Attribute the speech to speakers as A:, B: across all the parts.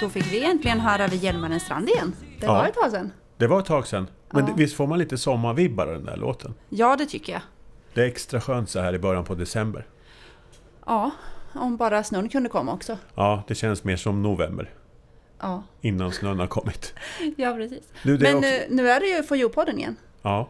A: Då fick vi egentligen höra vid Hjälmaren strand igen. Det
B: Ja.
A: var ett tag sedan.
B: Det var ett tag sedan. Men
A: Ja.
B: det- visst får man lite sommarvibbar av den där låten?
A: Ja, det tycker jag.
B: Det är extra skönt så här i början på december.
A: Ja, om bara snön kunde komma också.
B: Ja, det känns mer som november.
A: Ja,
B: Innan snön har kommit.
A: ja precis.
B: Du, det är
A: Men
B: också-
A: eh, nu är det ju For You-podden igen.
B: Ja,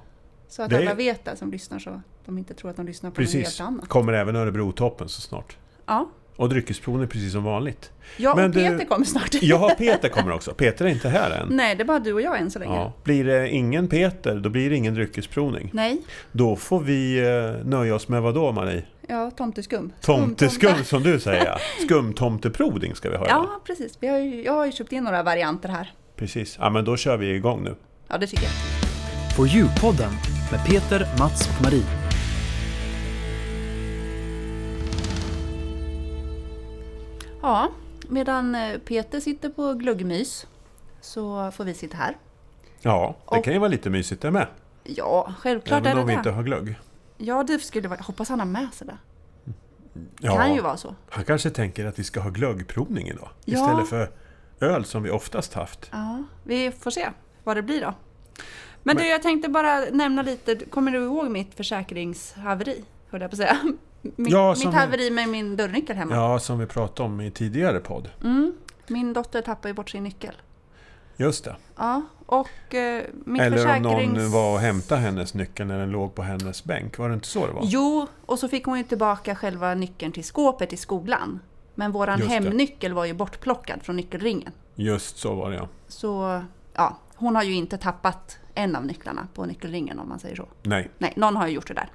A: Så att
B: Det är-
A: alla vet det som lyssnar så de inte tror att de lyssnar på något
B: precis.
A: helt annat.
B: Kommer även Örebrotoppen så snart.
A: Ja,
B: Och dryckesproven är precis som vanligt.
A: jag
B: Men
A: och
B: du-
A: Peter kommer snart.
B: Ja, Peter kommer också. Peter är inte här än.
A: Nej, det är bara du och jag än så länge.
B: Ja. Blir det ingen Peter, då blir det ingen dryckesprovning.
A: Nej,
B: Då får vi eh, nöja oss med vad då, Marie?
A: ja, tomteskum.
B: Tomteskum, som du säger. ja. Skumtomteproding ska vi ha idag.
A: Ja, precis. Vi har ju, jag har ju köpt in några varianter här.
B: Precis. Ja, men då kör vi igång nu.
A: Ja, det tycker jag.
C: For You-podden med Peter, Mats och Marie.
A: Ja, medan eh, Peter sitter på gluggmys så får vi sitta här.
B: Ja, det
A: Och-
B: kan ju vara lite mysigt det med.
A: Ja, självklart
B: Även
A: är
B: om vi
A: det
B: inte
A: det.
B: har glögg.
A: Ja, det skulle vara... Jag hoppas han har med sig det.
B: Ja,
A: Kan ju vara så.
B: Han kanske tänker att vi ska ha glöggprovning idag.
A: Ja.
B: Istället för öl som vi oftast haft.
A: Ja, vi får se vad det blir då. Men, du, jag tänkte bara nämna lite. Kommer du ihåg mitt försäkringshaveri? Höll jag på att säga. Mitt,
B: Ja, som
A: mitt
B: vi-
A: haveri med min dörrnyckel hemma.
B: Ja, som vi pratade om i tidigare podd.
A: Mm, min dotter tappade ju bort sin nyckel.
B: Just det.
A: Ja, och eh, mitt
B: Eller om
A: försäkrings...
B: någon var och hämtade hennes nyckel när den låg på hennes bänk. Var det inte så det var?
A: Jo, och så fick hon ju tillbaka själva nyckeln till skåpet i skolan. Men våran
B: Just det.
A: hemnyckel var ju bortplockad från nyckelringen.
B: Just så var det ja.
A: Så ja, hon har ju inte tappat en av nycklarna på nyckelringen om man säger så.
B: Nej.
A: Nej, någon har ju gjort det där.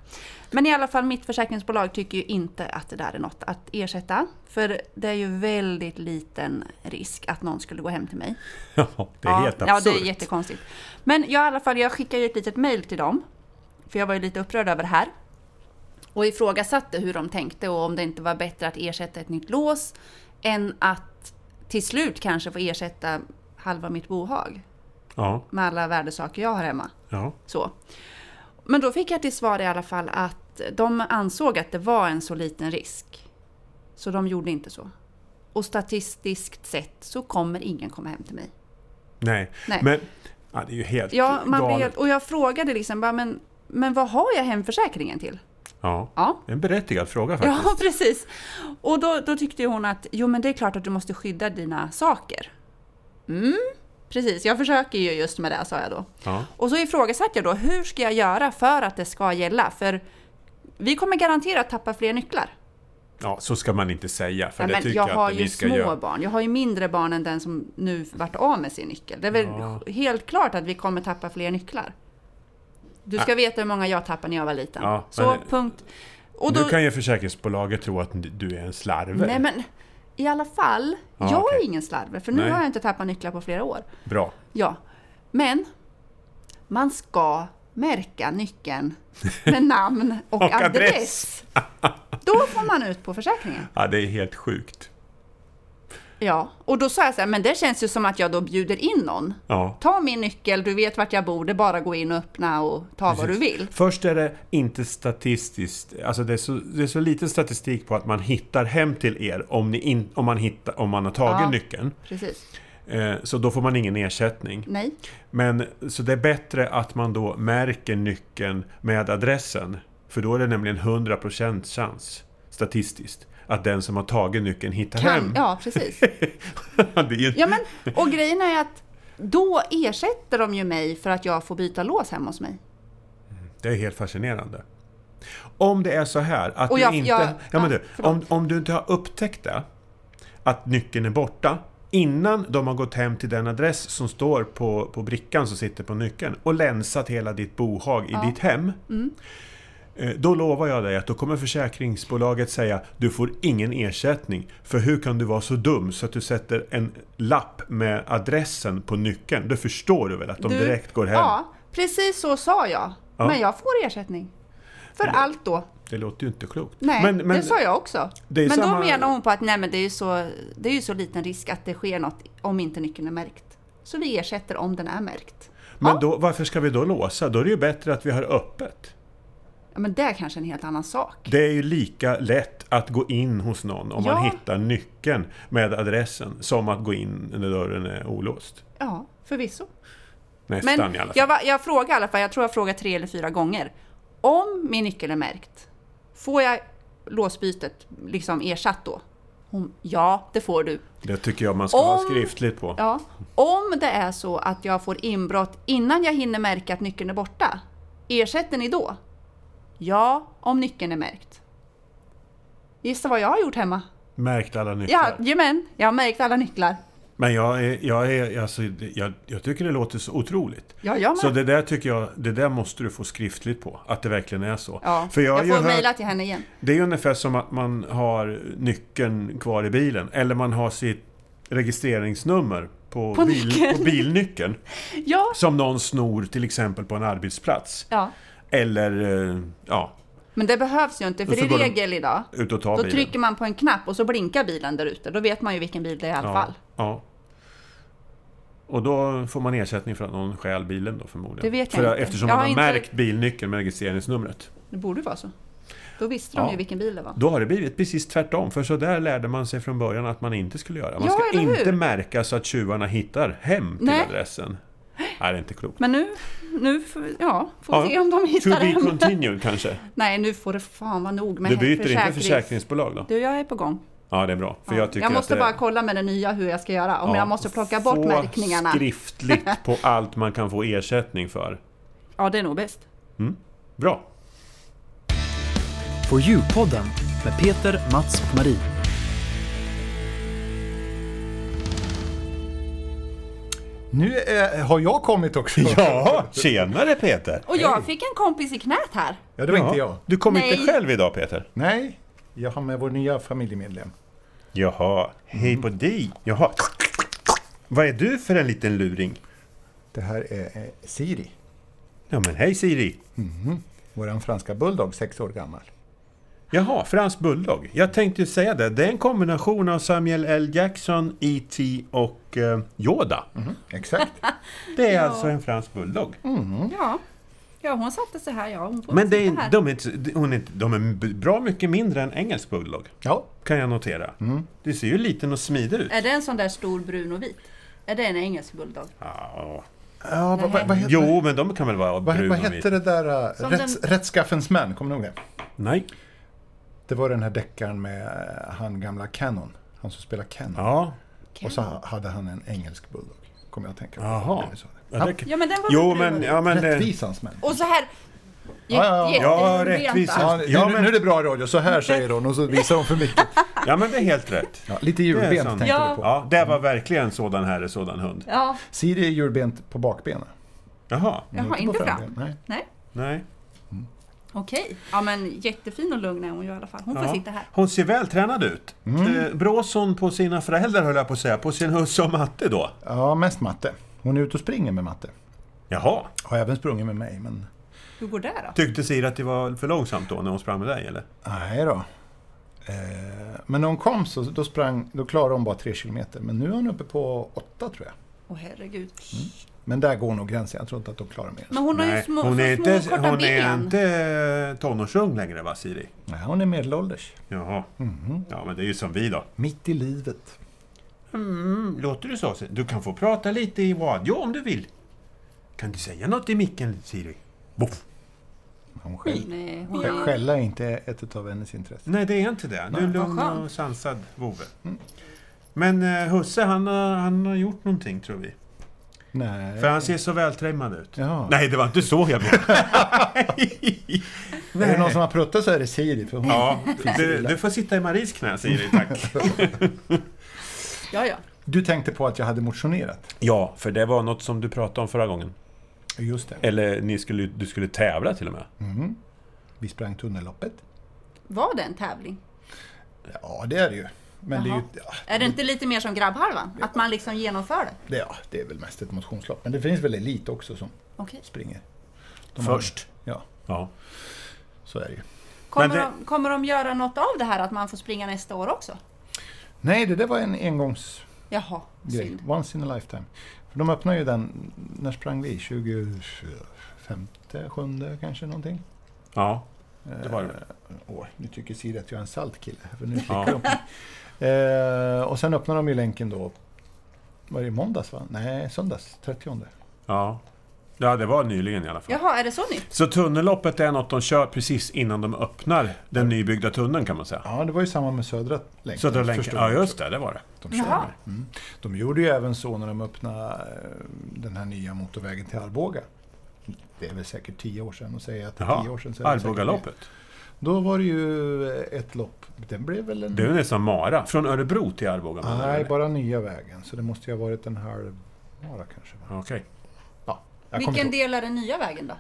A: Men i alla fall, mitt försäkringsbolag tycker ju inte att det där är något att ersätta. För det är ju väldigt liten risk att någon skulle gå hem till mig.
B: Ja, det är helt
A: ja,
B: absurt.
A: det är jättekonstigt. Men jag, i alla fall, jag skickade ju ett litet mejl till dem. För jag var ju lite upprörd över det här. Och ifrågasatte hur de tänkte och om det inte var bättre att ersätta ett nytt lås än att till slut kanske få ersätta halva mitt bohag
B: Ja,
A: med alla värdesaker jag har hemma.
B: ja.
A: Så. Men då fick jag till svar i alla fall att de ansåg att det var en så liten risk. Så de gjorde inte så. Och statistiskt sett så kommer ingen komma hem till mig.
B: Nej.
A: Nej.
B: Men ja, det är ju helt
A: Ja, man blir,
B: galet.
A: helt- och jag frågade liksom bara, men, men vad har jag hemförsäkringen till?
B: Ja.
A: Ja,
B: En berättigad fråga faktiskt.
A: ja precis. Och då, då tyckte ju hon att, jo men det är klart att du måste skydda dina saker. Mm, precis. Jag försöker ju just med det, sa jag då.
B: Ja.
A: Och så ifrågasatte jag då, hur ska jag göra för att det ska gälla? För vi kommer garanterat tappa fler nycklar.
B: ja, så ska man inte säga. För
A: Ja,
B: det
A: men
B: tycker
A: jag
B: jag,
A: har
B: att
A: ju
B: vi ska
A: små
B: göra.
A: barn. Jag har ju mindre barn än den som nu vart av med sin nyckel. Det är väl
B: Ja.
A: helt klart att vi kommer tappa fler nycklar. Du ska veta hur många jag tappade när jag var liten.
B: Ja,
A: Så,
B: men-
A: punkt. Och då,
B: Nu kan ju försäkringsbolaget tro att du är en slarver.
A: Nej men, i alla fall.
B: Ja,
A: jag
B: okej.
A: är ingen slarver, för nu
B: Nej.
A: har jag inte tappat nycklar på flera år.
B: Bra.
A: Ja, men man ska märka nyckeln med namn och,
B: Och adress.
A: adress. Då får man ut på försäkringen.
B: Ja, det är helt sjukt.
A: Ja, och då sa jag så här, men det känns ju som att jag då bjuder in någon.
B: Ja.
A: Ta min nyckel, du vet vart jag bor, det är bara att gå in och öppna och ta vad du vill.
B: Först är det inte statistiskt, alltså det är, så, det är så lite statistik på att man hittar hem till er om, ni in, om, man, hittar, om man har tagit
A: Ja.
B: nyckeln.
A: Precis.
B: Eh, så då får man ingen ersättning.
A: Nej.
B: Men så det är bättre att man då märker nyckeln med adressen. För då är det nämligen 100% chans, statistiskt, att den som har tagit nyckeln hittar hem.
A: Kan, ja, precis.
B: det är ju,
A: Ja, men, och grejen är att då ersätter de ju mig för att jag får byta lås hemma hos mig.
B: Det är helt fascinerande. Om det är så här att
A: Och jag-
B: du inte...
A: jag-
B: ja, men
A: ja,
B: du,
A: förlåt.
B: om, om du inte har upptäckt det, att nyckeln är borta, innan de har gått hem till den adress som står på, på brickan som sitter på nyckeln och länsat hela ditt bohag i ditt hem.
A: Mm.
B: eh, Då lovar jag dig att då kommer försäkringsbolaget säga du får ingen ersättning. För hur kan du vara så dum så att du sätter en lapp med adressen på nyckeln? Då förstår du väl att de
A: Du-
B: direkt går hem?
A: Ja, precis så sa jag.
B: Ja.
A: Men jag får ersättning. För allt då.
B: Det låter ju inte klokt.
A: Nej,
B: Men- men-
A: det sa jag också.
B: det är
A: men
B: samma-
A: då menar hon på att nej, men det, är ju så, det är ju så liten risk att det sker något om inte nyckeln är märkt. Så vi ersätter om den är märkt.
B: Men
A: Ja.
B: då, varför ska vi då låsa? Då är det ju bättre att vi har öppet.
A: Ja, men det är kanske en helt annan sak.
B: Det är ju lika lätt att gå in hos någon om man
A: Ja.
B: hittar nyckeln med adressen som att gå in när dörren är olåst.
A: Ja, förvisso.
B: Nästan
A: Men
B: i alla fall.
A: jag, var- jag frågade i alla fall, jag tror jag frågade tre eller fyra gånger. Om min nyckel är märkt, får jag låsbytet liksom ersatt då? Hon, ja, det får du.
B: Det tycker jag man ska ha
A: Om-
B: skriftligt på.
A: Ja. Om det är så att jag får inbrott innan jag hinner märka att nyckeln är borta, ersätter ni då? Ja, om nyckeln är märkt. Gissa vad jag har gjort hemma?
B: Märkt alla nycklar.
A: Jajamän, jag har märkt alla nycklar.
B: Men jag, är, jag, är, alltså, jag, jag tycker det låter så otroligt.
A: Ja, jag med.
B: Så det där tycker jag, det där måste du få skriftligt på, att det verkligen är så.
A: Ja,
B: För jag, har
A: jag,
B: ju
A: får mejla
B: hört,
A: till henne igen.
B: det är ju ungefär som att man har nyckeln kvar i bilen, eller man har sitt registreringsnummer på,
A: På
B: bil,
A: nyckeln.
B: på bilnyckeln.
A: Ja,
B: Som någon snor till exempel på en arbetsplats.
A: ja.
B: Eller, eh, ja,
A: men det behövs ju inte, för
B: Och
A: det
B: så
A: är
B: går de-
A: regel idag.
B: ut och ta
A: Då
B: bilen.
A: trycker man på en knapp och så blinkar bilen där ute. Då vet man ju vilken bil det är i alla fall.
B: ja, ja. Och då får man ersättning för att någon stjäl bilen då förmodligen.
A: Det vet jag
B: för,
A: inte.
B: Eftersom
A: Jag
B: man
A: har
B: har
A: inte-
B: märkt bilnyckeln med registreringsnumret.
A: Det borde ju vara så. Då visste de
B: Ja.
A: ju vilken bil det var.
B: Då har det blivit precis tvärtom, för så där lärde man sig från början att man inte skulle göra. Man
A: Ja,
B: ska
A: eller hur?
B: inte märka så att tjuvarna hittar hem till
A: Nej.
B: adressen. Nej, det är inte klokt.
A: Men nu, nu får vi- ja, får
B: Ja.
A: vi se om de
B: To
A: hittar
B: be
A: hem.
B: continued kanske.
A: Nej, nu får det fan vara nog med
B: Du byter inte
A: försäkrings-
B: försäkringsbolag då?
A: Du, jag är på gång.
B: Ja, det är bra. För jag, tycker
A: jag måste
B: att det...
A: bara kolla med det nya hur jag ska göra. Om
B: Ja,
A: jag måste plocka bort
B: få
A: märkningarna.
B: skriftligt på allt man kan få ersättning för.
A: Ja, det är nog bäst.
B: Bra.
C: For You-podden med Peter, Mats och Marie.
D: Nu eh, har jag kommit också.
B: Ja, tjenare Peter!
A: Och jag fick en kompis i knät här.
D: Ja, det var inte jag.
B: Du kom
A: Nej.
B: inte själv idag Peter?
D: Nej, jag har med vår nya familjemedlem.
B: Jaha, hej på dig! Jaha. Vad är du för en liten luring?
D: Det här är eh, Siri,
B: Ja men hej Siri!
D: vår franska bulldog, sex år gammal.
B: Jaha, fransk bulldog. Jag tänkte ju säga det, det är en kombination av Samuel L. Jackson, E.T. och eh, Yoda.
D: Mhm. Exakt.
B: Det är alltså en fransk bulldog.
A: Mm, Ja. ja, hon satte sig här. Ja, hon får
B: Mm. Men det
A: sitta
B: är,
A: här.
B: de, är inte, hon är, inte- de är b- bra mycket mindre än engelsk bulldog.
D: Ja,
B: Kan jag notera.
D: Mm.
B: Det ser ju liten och smidig ut.
A: Är det en sån där stor brun och vit? Är det en engelsk bulldog?
B: Ja.
D: ja vad, vad, vad, heter,
B: Jo, men de kan väl vara
D: vad,
B: brun
D: vad
B: och vit?
D: hette det där? eh,
A: Som
D: Rätts,
A: den-
D: Rättskaffens män, kommer ni ihåg det?
B: Nej.
D: Det var den här deckaren med eh, han gamla Cannon, han som spelar Cannon.
B: Ja.
D: Och så ha- hade han en engelsk bulldog, kommer jag att tänka på.
B: Jaha.
D: när du sa det.
B: Ja, det kan-
A: Ja, men den var väl
B: Jo,
A: brun
B: men...
A: och vit?
B: Ja, men eh,
D: Rättvisans män.
A: Och så här...
D: Ja, ja, ja.
A: Jätte-
B: Ja,
A: jätteorbenta.
B: rättvisa.
D: Ja, nu,
B: Ja, men-
D: nu är det bra radio, så här säger hon och så visar hon för mycket.
B: ja, men det är helt rätt.
D: Ja, lite
B: Det är
D: julbent
B: sant.
D: tänkte
A: Ja.
D: du på.
B: Ja, det var verkligen sådan herre, sådan hund.
A: Ja,
D: Siri är julbent på bakbenen.
B: Jaha.
A: jaha, inte
D: på
A: fram.
D: Nej.
A: Nej,
B: Nej.
A: okej. Ja, men jättefin och lugn är hon ju i alla fall. Hon får
B: Ja.
A: sitta här.
B: Hon ser vältränad ut. Eh, Bråson på sina föräldrar, höll jag på att säga. På sin husse och matte då.
D: Ja, mest matte. Hon är ute och springer med matte.
B: Jaha.
D: Har även sprungit med mig, men
A: Hur går det då?
B: Tyckte Siri att det var för långsamt då, när hon sprang med dig, eller?
D: nej då. Eh, Men när hon kom så då sprang, då klarade hon bara tre kilometer. Men nu är hon uppe på åtta tror jag.
A: Åh herregud.
B: Mm.
D: Men där går nog gränsen. Jag tror inte att hon klarar mer.
A: Men hon har ju små,
B: hon
A: så
B: är
A: små
B: inte,
A: korta
B: hon är
A: ben.
B: inte eh, tonårsung längre, va, Siri?
D: Nej, hon är medelålders.
B: Jaha. Ja, men det är ju som vi då.
D: Mitt i livet.
B: Mm, låter det så? Du kan få prata lite i radio om du vill. Kan du säga något i micken, Siri? Boff.
D: Hon skäll,
A: Nej, hon
D: skä-
A: är...
D: Skälla är inte ett av hennes intressen.
B: Nej, det är inte det. Du är lugn
A: vad skönt.
B: och sansad vovve. Men eh, husse, han har, han har gjort någonting, tror vi.
D: Nej.
B: För han ser så vältrimmad ut.
D: Ja.
B: Nej, det var inte så jag menade.
D: Är det någon som har pruttat så är det Siri. För hon...
B: Ja, du, du får sitta i Maries knä, Siri, tack.
A: Ja, ja.
D: Du tänkte på att jag hade motionerat.
B: ja, för det var något som du pratade om förra gången.
D: Just det.
B: Eller ni skulle, du skulle tävla till och med.
D: Vi sprang tunnelloppet.
A: Var det en tävling?
D: Ja, det är det ju. Men det är, ju,
A: Jaha.
D: ja,
A: Är det inte lite mer som grabbhalvan? Att man liksom genomför det?
D: det, ja, det är väl mest ett motionslopp. Men det finns väl elit också som
A: Okej.
D: springer.
B: Först.
D: Ja,
B: Ja.
D: så är det ju.
A: Kommer,
B: Men det-
A: de, kommer de göra något av det här att man får springa nästa år också?
D: Nej, det där var en engångsgrej.
A: Jaha, synd.
D: Once in a lifetime. För de öppnar ju den, när sprang vi? 25, 7 kanske någonting?
B: ja. Det var det väl?
D: Åh, nu tycker Siri att jag är en salt kille. här, För nu
B: Ja.
D: klickar de. på mig. Eh, och sen öppnar de ju länken då. Var det i måndags? Va? Nej, söndags. 30.
B: Ja. ja, det var nyligen i alla fall.
A: Jaha, är det så nytt?
B: Så tunnelloppet är något de kör precis innan de öppnar den nybyggda tunneln kan man säga.
D: Ja, det var ju samma med Södra länken.
B: Södra länken.
D: förstår
B: Ja,
D: jag
B: just det. Det var det.
D: också. De,
A: Jaha.
D: kör med. mm. de gjorde ju även så när de öppnade eh, den här nya motorvägen till Arboga. Det är väl säkert tio år sedan. Och säga att det är tio
B: Jaha.
D: år sedan. så är det säkert det.
B: Arbogaloppet.
D: Då var det ju eh, ett lopp. Den blev väl en...
B: Det är ju nästan Mara. Från Örebro till Arboga. menar du,
D: Nej,
B: eller?
D: bara nya vägen. Så det måste ju ha varit en halv mara kanske. Va?
B: Okej.
D: Ja, jag kommer
A: Vilken
D: inte ihåg.
A: del är den nya vägen då?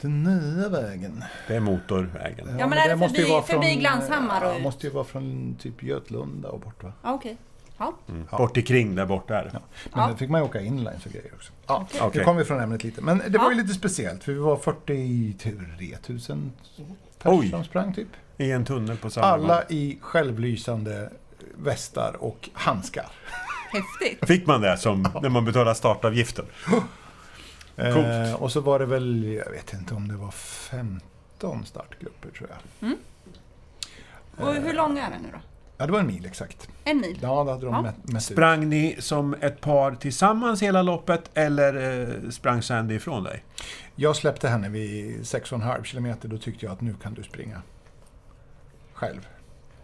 D: Den nya vägen.
B: Det är motorvägen.
A: men är det förbi- förbi Glanshammar och
D: Ja,
A: ut?
D: måste ju vara från typ Götlunda och bort va?
A: Ja, okej. Ja.
B: Mm. Bort i kring där borta är det.
D: Ja. Men
A: Ja.
D: där fick man ju åka inlines och grejer också. Ja,
A: Okej.
B: Okej.
D: Nu kom vi från ämnet lite. Men det var ju
A: Ja.
D: lite speciellt för vi var 43 000
B: Oj.
D: personer som sprang typ.
B: I en tunnel på samma
D: Alla
B: gång.
D: i självlysande västar och handskar.
A: Häftigt.
B: Fick man det som när man betalar startavgiften? Coolt.
D: Eh, och så var det väl, jag vet inte om det var 15 startgrupper tror jag.
A: Och hur lång är den nu då?
D: Ja, det var en mil exakt.
A: En mil?
D: Ja, det hade de
A: Ja.
D: mätt, mätt ut.
B: Sprang ni som ett par tillsammans hela loppet eller eh, sprang Sandy ifrån dig?
D: Jag släppte henne vid 6,5 kilometer. Då tyckte jag att nu kan du springa. Själv.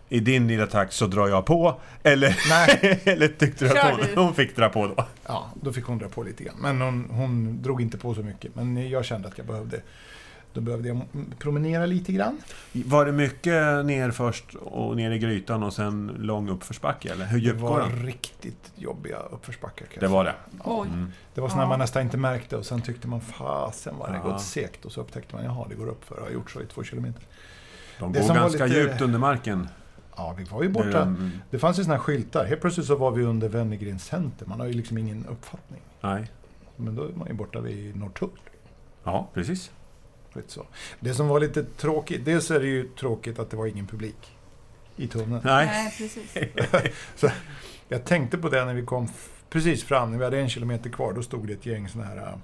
B: I din lilla takt så drar jag på. Eller,
D: Nej.
B: eller tyckte du
A: Kör
B: att hon,
A: du.
B: hon fick dra på då?
D: Ja, då fick hon dra på lite grann. Men hon, hon drog inte på så mycket. Men jag kände att jag behövde, då behövde jag promenera lite grann.
B: Var det mycket ner först och ner i grytan och sen lång uppförsbacke eller? Hur
D: Det
B: djupt går
D: var
B: den?
D: riktigt jobbiga uppförsbackar. kan jag
B: Det var det.
A: Oj.
D: säga. det var sådana
A: Ja.
D: man nästan inte märkte och sen tyckte man fasen vad det
B: Ja.
D: gått segt. Och så upptäckte man, jaha det går upp för jag har gjort så i två kilometer.
B: De
D: Det
B: går
D: som var
B: ganska
D: lite-
B: djupt under marken. Eh, mm.
D: Ja, vi var ju
B: Det är
D: borta.
B: en-
D: Det fanns ju sådana här skyltar. Helt plötsligt så var vi under Wennergrens center. Man har ju liksom ingen uppfattning.
B: Nej.
D: Men då är man ju borta vid Norrtull.
B: Ja, precis.
D: Lite så. Det som var lite tråkigt, dels är det ju tråkigt att det var ingen publik i tunneln.
B: Nej.
A: Nej, precis.
D: Jag tänkte på det när vi kom f- precis fram, när vi hade en kilometer kvar, då stod det ett gäng sådana här,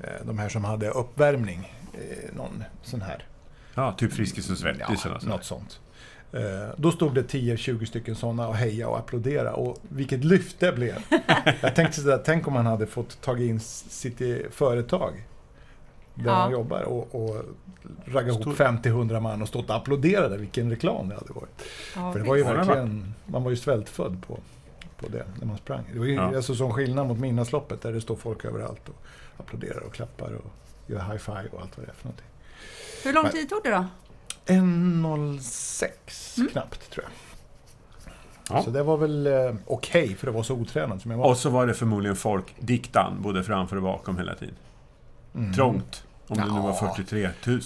D: eh, de här som hade uppvärmning, eh, någon sån här.
B: Ja, typ Friskis och Svettis eller
D: ja,
B: något sånt.
D: något sånt. Eh, Då stod det 10-20 stycken sådana och heja och applådera och vilket lyft det blev. Jag tänkte sådär, tänk om man hade fått ta in s- sitt eh, företag där
A: Ja.
D: man jobbar och, och ragga
B: Stor-
D: ihop 50-100 man och stått och applåderade, vilken reklam det hade varit.
A: Ja,
D: För det var ju
B: visst.
D: verkligen, man var ju svältfödd på, på det när man sprang. Det var ju
B: Ja.
D: alltså som skillnad mot Midnattsloppet där det står folk överallt och applåderar och klappar och gör high five och allt vad det är för någonting.
A: Hur lång tid tog det då?
D: 1.06 knappt tror jag.
B: Ja.
D: Så det var väl eh, okej för det var så otränad som jag var.
B: Och så var det förmodligen folk diktan både framför och bakom hela tiden.
D: Mm.
B: Trångt. Om det nu var
D: Ja.
B: 43 000.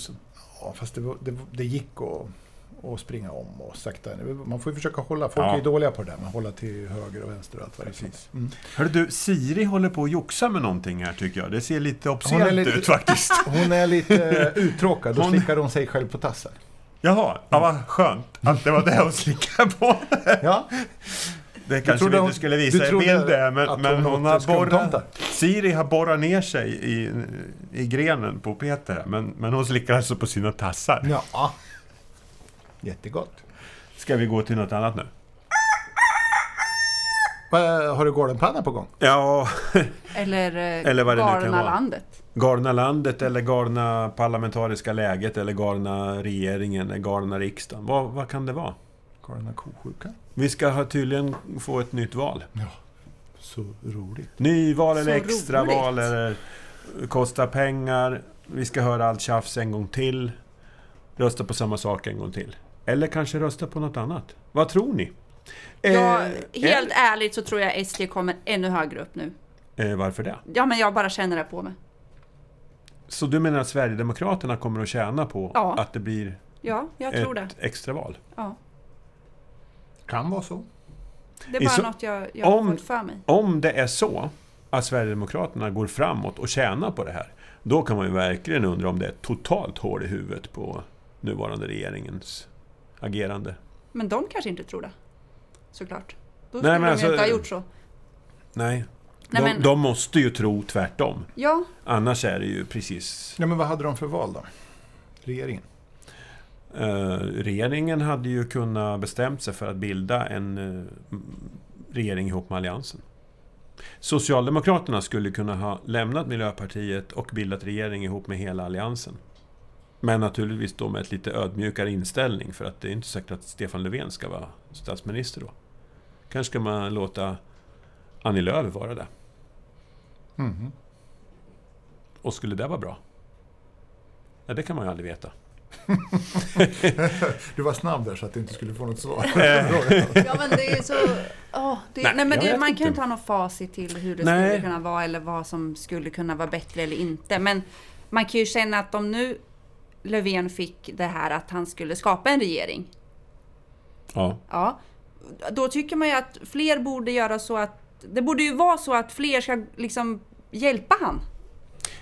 D: Ja, fast det, var, det, det gick att, att springa om och sakta. Man får ju försöka hålla, folk
B: Ja.
D: är ju dåliga på det där, man håller till höger och vänster och allt vad det är. för
B: Precis.
D: någonting. Mm.
B: Hörru du, Siri håller på att joxa med någonting här tycker jag. Det ser lite obscent
D: lite-
B: ut faktiskt.
D: Hon är lite eh, uttråkad, då
B: Hon-
D: slickar hon sig själv på tassen.
B: Jaha, ja, vad skönt att det var det hon slickade på.
D: Ja,
B: Det kanske
D: trodde
B: vi
D: hon-
B: inte skulle
D: du
B: visa i
D: trodde
B: bild där,
D: att
B: men,
D: hon
B: men hon
D: åt
B: har
D: skumtomtar.
B: borrat... Siri har borrat ner sig i, i grenen på Peter, men, men hon slickar alltså på sina tassar.
D: Ja. Jättegott.
B: Ska vi gå till något annat nu?
D: Eh, har du Goldenpanna på gång?
B: Ja,
A: Eller,
B: Eller
A: eller
B: vad det nu kan
A: Galna
B: vara.
A: landet?
B: galna landet eller galna parlamentariska läget eller galna regeringen eller galna riksdagen. Vad, vad kan det vara?
D: Galna kosjukan.
B: Vi ska ha tydligen få ett nytt val.
D: Ja. Så roligt.
B: Nyval eller
A: Så
B: extraval
A: roligt.
B: eller kosta pengar. Vi ska höra allt tjafs en gång till. Rösta på samma sak en gång till. Eller kanske rösta på något annat. Vad tror ni?
A: Ja,
B: Eh,
A: helt ärligt så tror jag SD kommer ännu högre upp nu.
B: eh, varför det?
A: Ja, men jag bara känner det på mig.
B: Så du menar att Sverigedemokraterna kommer att tjäna på
A: Ja.
B: att det blir
A: Ja, jag tror det.
B: ett extraval?
A: Ja.
D: Kan vara så.
A: Det är
B: I
A: bara
B: så-
A: något jag, jag har
B: om-
A: fått för mig.
B: Om det är så att Sverigedemokraterna går framåt och tjänar på det här, då kan man ju verkligen undra om det är ett totalt hål i huvudet på nuvarande regeringens agerande.
A: Men de kanske inte tror det. Såklart. Då
B: Nej,
A: skulle
B: men
A: de
B: alltså-
A: ju inte ha gjort så.
B: Nej.
A: Nej,
B: de,
A: men-
B: de måste ju tro tvärtom.
A: Ja,
B: Annars är det ju precis...
D: Ja, men vad hade de för val då? Regeringen?
B: Eh, regeringen hade ju kunnat bestämt sig för att bilda en eh, regering ihop med Alliansen. Socialdemokraterna skulle kunna ha lämnat Miljöpartiet och bildat regering ihop med hela Alliansen. Men naturligtvis då med ett lite ödmjukare inställning för att det är inte säkert att Stefan Löfven ska vara statsminister då. Kanske ska man låta Annie Lööf vara det.
D: Mhm.
B: Och skulle det vara bra? Ja, det kan man ju aldrig veta.
D: Du var snabb där så att du inte skulle få något svar.
A: Ja men det är så... åh, det,
B: Nej,
A: nej, men
B: jag
A: det, man
B: vet
A: kan
B: inte.
A: ju inte ha någon facit till hur det
B: Nej.
A: skulle kunna vara eller vad som skulle kunna vara bättre eller inte. Men man kan ju känna att om nu Löfven fick det här att han skulle skapa en regering.
B: Ja.
A: Ja, då tycker man ju att fler borde göra så att... Det borde ju vara så att fler ska liksom hjälpa han.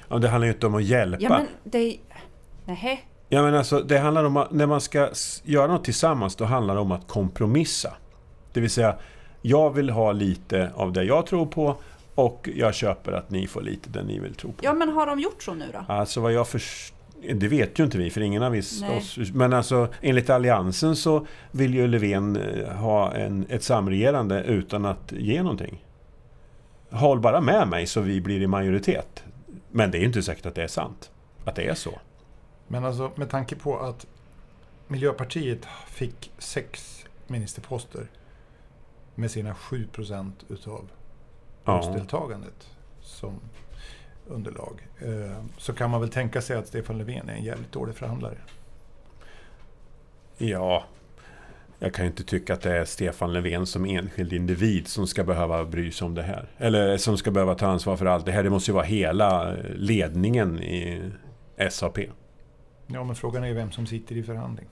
B: ja det handlar ju inte om att hjälpa.
A: Ja men det... Nähä.
B: Ja, men alltså, det handlar om att, när man ska s- göra något tillsammans, då handlar det om att kompromissa. Det vill säga, jag vill ha lite av det jag tror på och jag köper att ni får lite det ni vill tro på.
A: Ja men har de gjort så nu då?
B: Alltså vad jag förstår... Det vet ju inte vi, för ingen av vis-
A: Nej.
B: oss... Men alltså, enligt Alliansen så vill ju Löfven eh, ha en, ett samregerande utan att ge någonting. Håll bara med mig så vi blir i majoritet. Men det är ju inte säkert att det är sant. Att det är så.
D: Men alltså med tanke på att Miljöpartiet fick sex ministerposter med sina 7 procent utav valdeltagandet som underlag. eh, Så kan man väl tänka sig att Stefan Löfven är en jävligt dålig förhandlare.
B: Ja, jag kan ju inte tycka att det är Stefan Löfven som enskild individ som ska behöva bry sig om det här. Eller som ska behöva ta ansvar för allt det här. Det måste ju vara hela ledningen i SAP.
D: Ja, men frågan är vem som sitter i förhandling.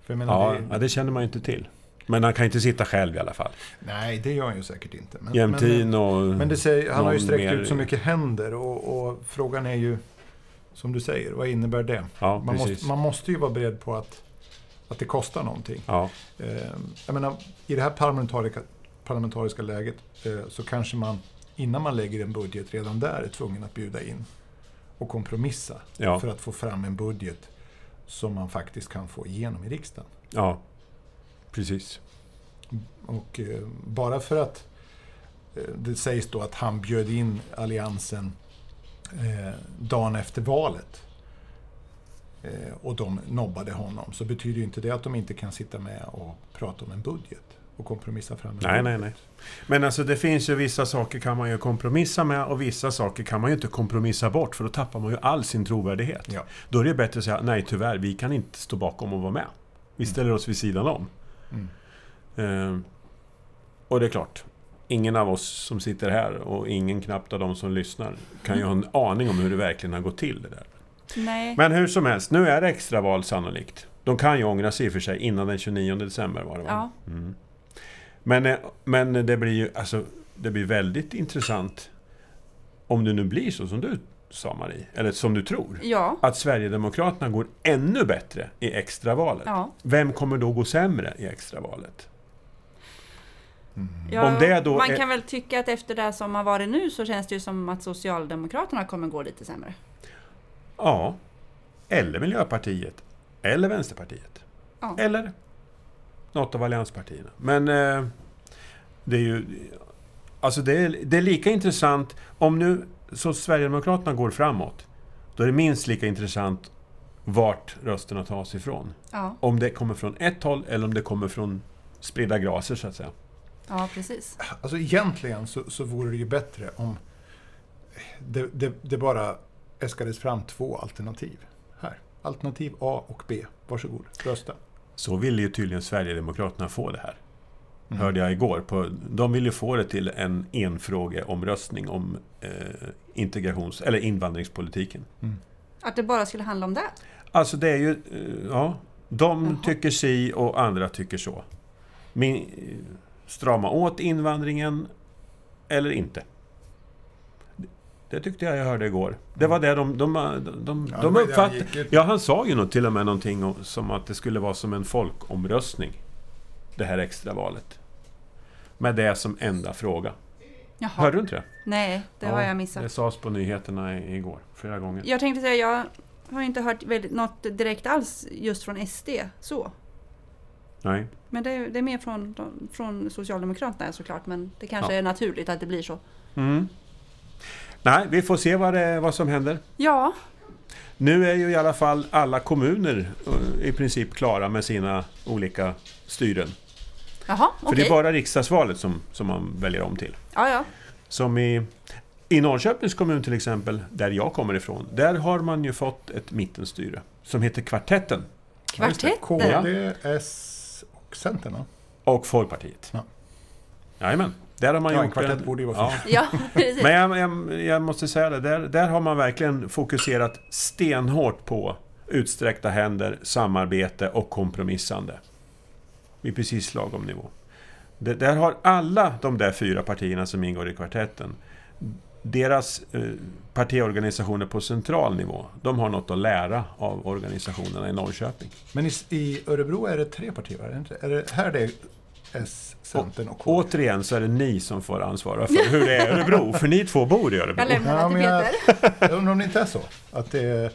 D: För jag menar,
B: Ja,
D: det,
B: ja, det känner man ju inte till. Men han kan ju inte sitta själv i alla fall.
D: nej, det gör han ju säkert inte. Men, men,
B: Jämtin och...
D: men det säger, han har ju
B: någon
D: sträckt
B: mer-
D: ut så mycket händer och, och frågan är ju, som du säger, vad innebär det?
B: Ja,
D: Man
B: precis.
D: måste, man måste ju vara beredd på att, att det kostar någonting.
B: Ja,
D: Eh, jag menar, I det här parlamentariska, parlamentariska läget eh, så kanske man innan man lägger en budget redan där är tvungen att bjuda in och kompromissa
B: Ja.
D: för att få fram en budget som man faktiskt kan få igenom i riksdagen.
B: ja. Precis.
D: Och eh, bara för att eh, det sägs då att han bjöd in Alliansen eh, dagen efter valet eh, och de nobbade honom så betyder ju inte det att de inte kan sitta med och prata om en budget och kompromissa fram en
B: Nej,
D: budget.
B: nej, nej. Men alltså det finns ju vissa saker kan man ju kompromissa med och vissa saker kan man ju inte kompromissa bort för då tappar man ju all sin trovärdighet.
D: Ja.
B: Då är det bättre att säga nej tyvärr, vi kan inte stå bakom och vara med. Vi ställer oss vid sidan om.
D: Mm.
B: Ehm, och det är klart, ingen av oss som sitter här och ingen knappt av de som lyssnar kan ju ha en aning om hur det verkligen har gått till det där.
A: Nej.
B: Men hur som helst, nu är det extraval sannolikt. De kan ju ångra sig i och för sig innan den 29 december var det va?
A: Ja.
B: Mm. Men, eh, men det blir ju alltså, det blir väldigt intressant om det nu blir så som du sa Marie, eller som du tror.
A: Ja.
B: Att Sverigedemokraterna går ännu bättre i extravalet.
A: Ja.
B: Vem kommer då gå sämre i extravalet?
A: Ja,
B: Om det då
A: man
B: är-
A: kan väl tycka att efter det som har varit nu så känns det ju som att Socialdemokraterna kommer gå lite sämre.
B: Ja, eller Miljöpartiet, eller Vänsterpartiet.
A: Ja.
B: Eller något av allianspartierna. Men eh, det är ju... Alltså det är, det är lika intressant, om nu så Sverigedemokraterna går framåt, då är det minst lika intressant vart rösterna tas ifrån.
A: Ja,
B: Om det kommer från ett håll eller om det kommer från spridda graser så att säga.
A: ja precis.
D: Alltså egentligen så, så vore det ju bättre om det, det, det bara äskades fram två alternativ. Här. Alternativ A och B. Varsågod, rösta.
B: Så ville ju tydligen Sverigedemokraterna få det här. Hörde jag igår. På, de ville få det till en enfrågeomröstning om eh, integrations eller invandringspolitiken.
A: Att det bara skulle handla om det.
B: Alltså det är ju... eh, Ja, de tycker si och andra tycker så. Min, eh, strama åt invandringen eller inte. Det tyckte jag jag hörde igår. Det var det de, de, de, de,
D: Ja, det
B: de
D: var det han
B: uppfattade.
D: gick ut.
B: Ja, han sa ju nog till och med någonting om, som att det skulle vara som en folkomröstning. Det här extravalet. Med det som enda fråga.
A: Jaha.
B: Hörde du inte det?
A: Nej, det
B: Ja,
A: har jag
B: Det
A: missat.
B: sades på nyheterna i- igår, flera gånger.
A: Jag tänkte säga, jag har inte hört väldigt, något direkt alls just från SD. så.
B: Nej.
A: Men det är, det är mer från, de- från Socialdemokraterna såklart, men det kanske
B: Ja.
A: är naturligt att det blir så.
B: Mm. Nej, vi får se vad, det, vad som händer.
A: Ja,
B: Nu är ju i alla fall alla kommuner eh, i princip klara med sina olika styren.
A: jaha,
B: För
A: okej.
B: det är bara riksdagsvalet som, som man väljer om till.
A: Ja, ja.
B: Som i, i Norrköpings kommun till exempel, där jag kommer ifrån, där har man ju fått ett mittenstyre som heter Kvartetten
A: Kvartetten.
D: KD, S och Centern va?
B: och Folkpartiet.
D: Ja.
B: Jajamän, där har man
D: Ja, en
B: gjort
D: kvartett borde ju vara
B: Ja.
D: fint.
A: Ja, precis.
B: Men jag, jag, jag måste säga det, där, där har man verkligen fokuserat stenhårt på utsträckta händer, samarbete och kompromissande. Vi är precis lagom nivå. Det, där har alla de där fyra partierna som ingår i kvartetten, deras eh, partiorganisationer på central nivå, de har något att lära av organisationerna i Norrköping.
D: Men i, i Örebro är det tre partier, va? är det inte? Är det, här det är S, Centern och KD?
B: Återigen så är det ni som får ansvara för hur det är i Örebro, för ni två bor i Örebro.
A: Jag lämnar det till
D: men jag-
A: Peter.
D: Jag undrar om det inte är så? Att det är